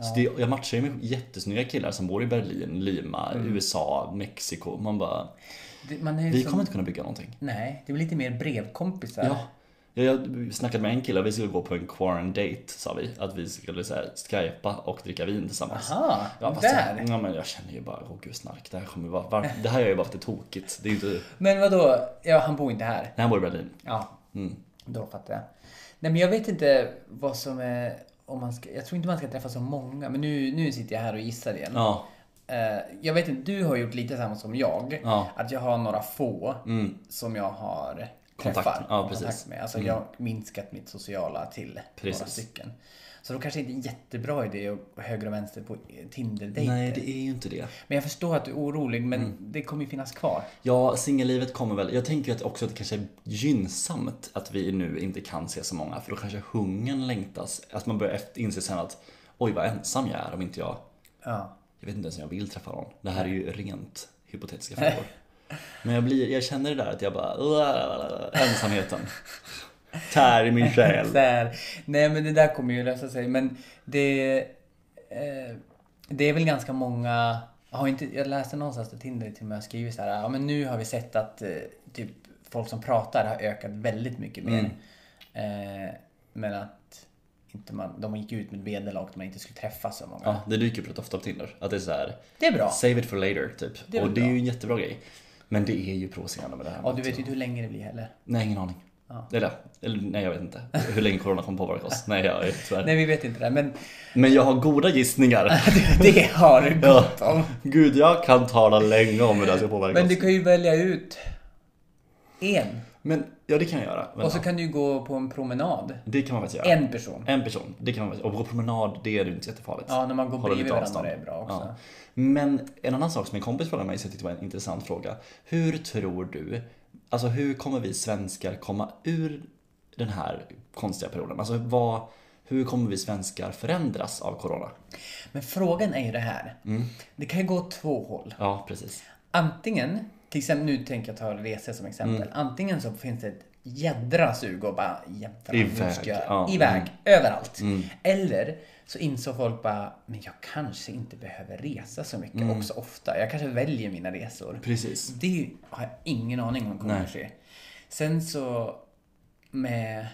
Speaker 1: Så det, jag matchar ju med jättesnygga killar som bor i Berlin, Lima, USA, Mexiko. Man bara,
Speaker 2: Mm. Det- Man är ju
Speaker 1: vi
Speaker 2: som-
Speaker 1: kommer inte kunna bygga någonting.
Speaker 2: Nej, det blir lite mer brevkompisar.
Speaker 1: Ja. Jag, jag snackade med en kille, vi skulle gå på en quarantine date sa vi. Att vi skulle så här, skypa och dricka vin tillsammans.
Speaker 2: Aha,
Speaker 1: Ja, fast
Speaker 2: där.
Speaker 1: Jag, ja, men jag känner ju bara, åh gud snark, det här kommer vara, var, det här är ju bara för tokigt. Det är ju inte, nej
Speaker 2: Men vadå? Ja, han bor inte här.
Speaker 1: han bor i Berlin.
Speaker 2: Ja,
Speaker 1: Mm.
Speaker 2: då fattar jag. Nej, men jag vet inte vad som är... Om man ska, jag tror inte man ska träffa så många, men nu, nu sitter jag här och gissar igen.
Speaker 1: Ja,
Speaker 2: Eh, jag vet inte, du har gjort lite samma som jag.
Speaker 1: Ja. Mm.
Speaker 2: Att jag har några få som jag har
Speaker 1: Kontakt-
Speaker 2: träffar
Speaker 1: ja,
Speaker 2: och
Speaker 1: precis. Mm.
Speaker 2: kontakt med. Alltså jag har minskat mitt sociala till några
Speaker 1: Precis.
Speaker 2: stycken. Så då kanske inte är en jättebra idé att höger och vänster på Tinder-dejter.
Speaker 1: nej Mm. det är ju inte det.
Speaker 2: Men jag förstår att du är orolig, men det kommer ju finnas kvar.
Speaker 1: Ja, singellivet kommer väl. Jag tänker ju att också att det kanske är gynnsamt att vi nu inte kan se så många för då kanske hungern längtas. Att man börjar efter- inse sen att oj vad ensam jag är om inte jag,
Speaker 2: Ja.
Speaker 1: jag vet inte ens om jag vill träffa någon. Det här är ju rent hypotetiska frågor. Men jag, blir, jag känner det där att jag bara, ensamheten. Tär i min själ.
Speaker 2: Så här, nej men det där kommer ju lösa sig. Men det, eh, det är väl ganska många, jag, har inte, jag läste någonstans att Tinder till och med har skrivit så här, ja men nu har vi sett att eh, typ folk som pratar har ökat väldigt mycket
Speaker 1: Mm.
Speaker 2: mer. Eh, men att inte man, de gick ut med ett vederlag att man inte skulle träffa så många.
Speaker 1: Ja, det dyker upp rätt ofta på Tinder. Att det är så här,
Speaker 2: Det är bra.
Speaker 1: save it for later typ.
Speaker 2: Det är
Speaker 1: och
Speaker 2: väl
Speaker 1: det är
Speaker 2: bra.
Speaker 1: ju en jättebra grej. Men det är ju provocerande med det här.
Speaker 2: Ja,
Speaker 1: med
Speaker 2: du
Speaker 1: att-
Speaker 2: vet ju inte hur länge det blir heller.
Speaker 1: Nej, ingen aning. Eller, eller nej, jag vet inte hur länge corona kommer påverka oss. Nej, jag vet tyvärr.
Speaker 2: Nej, vi vet inte det. Men
Speaker 1: Men jag har goda gissningar.
Speaker 2: det har det gått om.
Speaker 1: Gud, jag kan tala länge om hur det här ska påverka
Speaker 2: Men
Speaker 1: oss.
Speaker 2: du kan ju välja ut en.
Speaker 1: Men ja, det kan jag göra. Men,
Speaker 2: Och så kan du ju gå på en promenad.
Speaker 1: Det kan man faktiskt göra.
Speaker 2: En person.
Speaker 1: En person, det kan man faktiskt. Och på promenad, det är ju inte jättefarligt.
Speaker 2: Ja, när man går
Speaker 1: Håller
Speaker 2: bredvid
Speaker 1: lite
Speaker 2: varandra
Speaker 1: avstånd.
Speaker 2: är bra också.
Speaker 1: Ja. Men en annan sak som en kompis frågade mig, som jag tyckte var en intressant fråga. Hur tror du, alltså hur kommer vi svenskar komma ur den här konstiga perioden? Alltså vad, hur kommer vi svenskar förändras av corona?
Speaker 2: Men frågan är ju det här.
Speaker 1: Mm.
Speaker 2: Det kan ju gå åt två håll.
Speaker 1: Ja, precis. Mm.
Speaker 2: Antingen, till exempel, nu tänker jag ta resor som exempel. Antingen så finns det ett jädra sug och bara jädra,
Speaker 1: Iväg,
Speaker 2: nu ska jag
Speaker 1: ja. Mm.
Speaker 2: iväg överallt. Eller så insåg folk bara, men jag kanske inte behöver resa så mycket
Speaker 1: Mm.
Speaker 2: och så ofta. Jag kanske väljer mina resor.
Speaker 1: Precis.
Speaker 2: Det är ju- har jag ingen aning om kommer
Speaker 1: Nej.
Speaker 2: att ske. Sen så med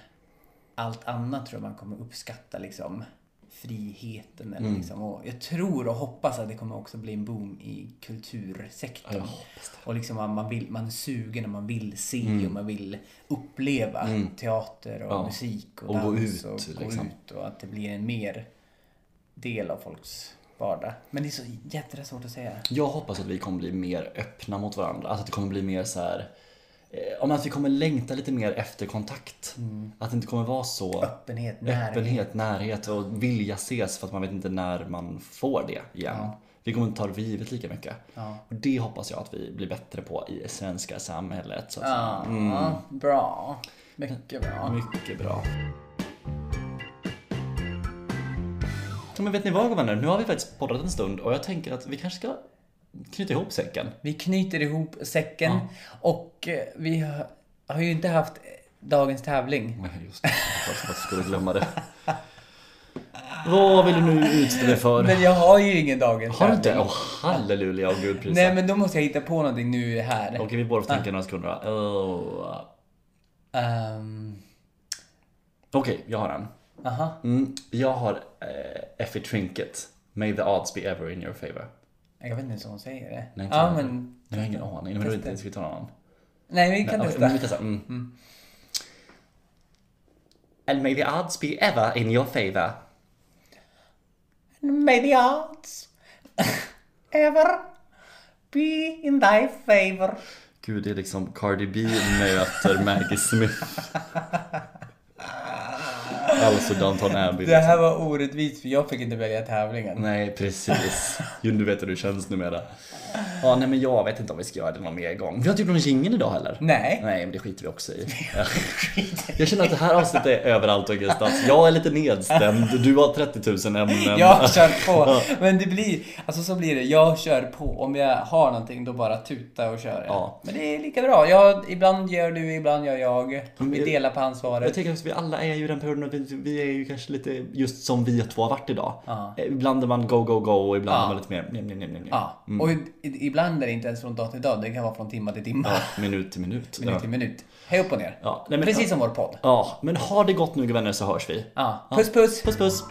Speaker 2: allt annat tror jag man kommer uppskatta liksom friheten. Eller
Speaker 1: Mm.
Speaker 2: liksom, och jag tror och hoppas att det kommer också bli en boom i kultursektorn.
Speaker 1: Ja, jag hoppas Mm.
Speaker 2: och liksom man, man, vill, man är sugen och man vill se och man vill uppleva teater och
Speaker 1: Ja.
Speaker 2: musik och,
Speaker 1: Och gå ut,
Speaker 2: dans och gå
Speaker 1: liksom.
Speaker 2: ut och att det blir en mer del av folks vardag. Men det är så jädra svårt att säga.
Speaker 1: Jag hoppas att vi kommer bli mer öppna mot varandra. Alltså att det kommer bli mer så här... eh, Om att vi kommer längta lite mer efter kontakt. Att det inte kommer vara så
Speaker 2: Mm. Öppenhet, närhet.
Speaker 1: öppenhet, närhet och vilja ses för att man vet inte när man får det igen. Vi kommer inte ta det för givet lika mycket.
Speaker 2: Ja.
Speaker 1: Och det hoppas jag att vi blir bättre på i svenska samhället. Så att säga.
Speaker 2: Ja, bra. Mycket bra.
Speaker 1: Mycket bra. Ja, Men vet ni vad vänner, nu har vi faktiskt poddat en stund och jag tänker att vi kanske ska knyta ihop säcken.
Speaker 2: Vi knyter ihop säcken och eh, vi har, har ju inte haft eh, dagens tävling.
Speaker 1: Nej, just det. Jag hoppas att jag skulle glömma det. Vad vill du nu utstå dig för?
Speaker 2: Men jag har ju ingen dagens
Speaker 1: Har du
Speaker 2: tävling.
Speaker 1: inte? Åh, halleluja och gud prisa.
Speaker 2: Nej, men då måste jag hitta på någonting nu här.
Speaker 1: Okej, vi båda får tänka några sekunder. va? Åh.
Speaker 2: Ehm,
Speaker 1: Okej, jag har en.
Speaker 2: Aha.
Speaker 1: Mm, jag har eh, Effie Trinket. May the odds be ever in your favor.
Speaker 2: Jag vet inte ens om hon säger det.
Speaker 1: Nej, inte
Speaker 2: ja,
Speaker 1: jag.
Speaker 2: men...
Speaker 1: Jag har ingen aning. Men du inte, ska vi ta någon annan?
Speaker 2: Nej, vi kan
Speaker 1: Okej,
Speaker 2: testa.
Speaker 1: men vi testar. Mm. And may the odds be ever in your favor.
Speaker 2: May the odds ever be in thy favor.
Speaker 1: Gud, det är liksom Cardi B möter Maggie Smith. alltså Downton Abbey.
Speaker 2: Det här var orättvist för jag fick inte välja tävlingen.
Speaker 1: Nej, precis. Jo, du vet hur det känns numera. Ja, nej men jag vet inte om vi ska göra det någon mer gång. Vi har inte gjort någon jingel idag heller.
Speaker 2: Nej.
Speaker 1: Nej, men det skiter vi också i. jag känner att det här avsnittet är överallt och ingenstans. Jag är lite nedstämd, du har 30 000 ämnen.
Speaker 2: Jag kör på. Men det blir, alltså så blir det. Jag kör på. Om jag har någonting då bara tuta och kör.
Speaker 1: Ja.
Speaker 2: Men det är lika bra. Jag, ibland gör du, ibland gör jag. Vi
Speaker 1: jag-
Speaker 2: delar på
Speaker 1: Mm. Jag
Speaker 2: ansvaret.
Speaker 1: tänker att vi alla är ju i den perioden att vi, vi är ju kanske lite just som vi två har varit idag.
Speaker 2: Ja.
Speaker 1: Eh, Ibland är man go, go, go och ibland är man lite mer nej, nej, nej, nej. nej.
Speaker 2: Ja. Och i- i- ibland är det inte ens från dag till dag. Det kan vara från timma till timma.
Speaker 1: Ja, minut till minut.
Speaker 2: Minut till minut. Hej upp och ner.
Speaker 1: Ja, nej, men-
Speaker 2: Precis som vår podd.
Speaker 1: Ja, men ha det gott nu vänner så hörs vi.
Speaker 2: Ja. Puss puss!
Speaker 1: Puss puss!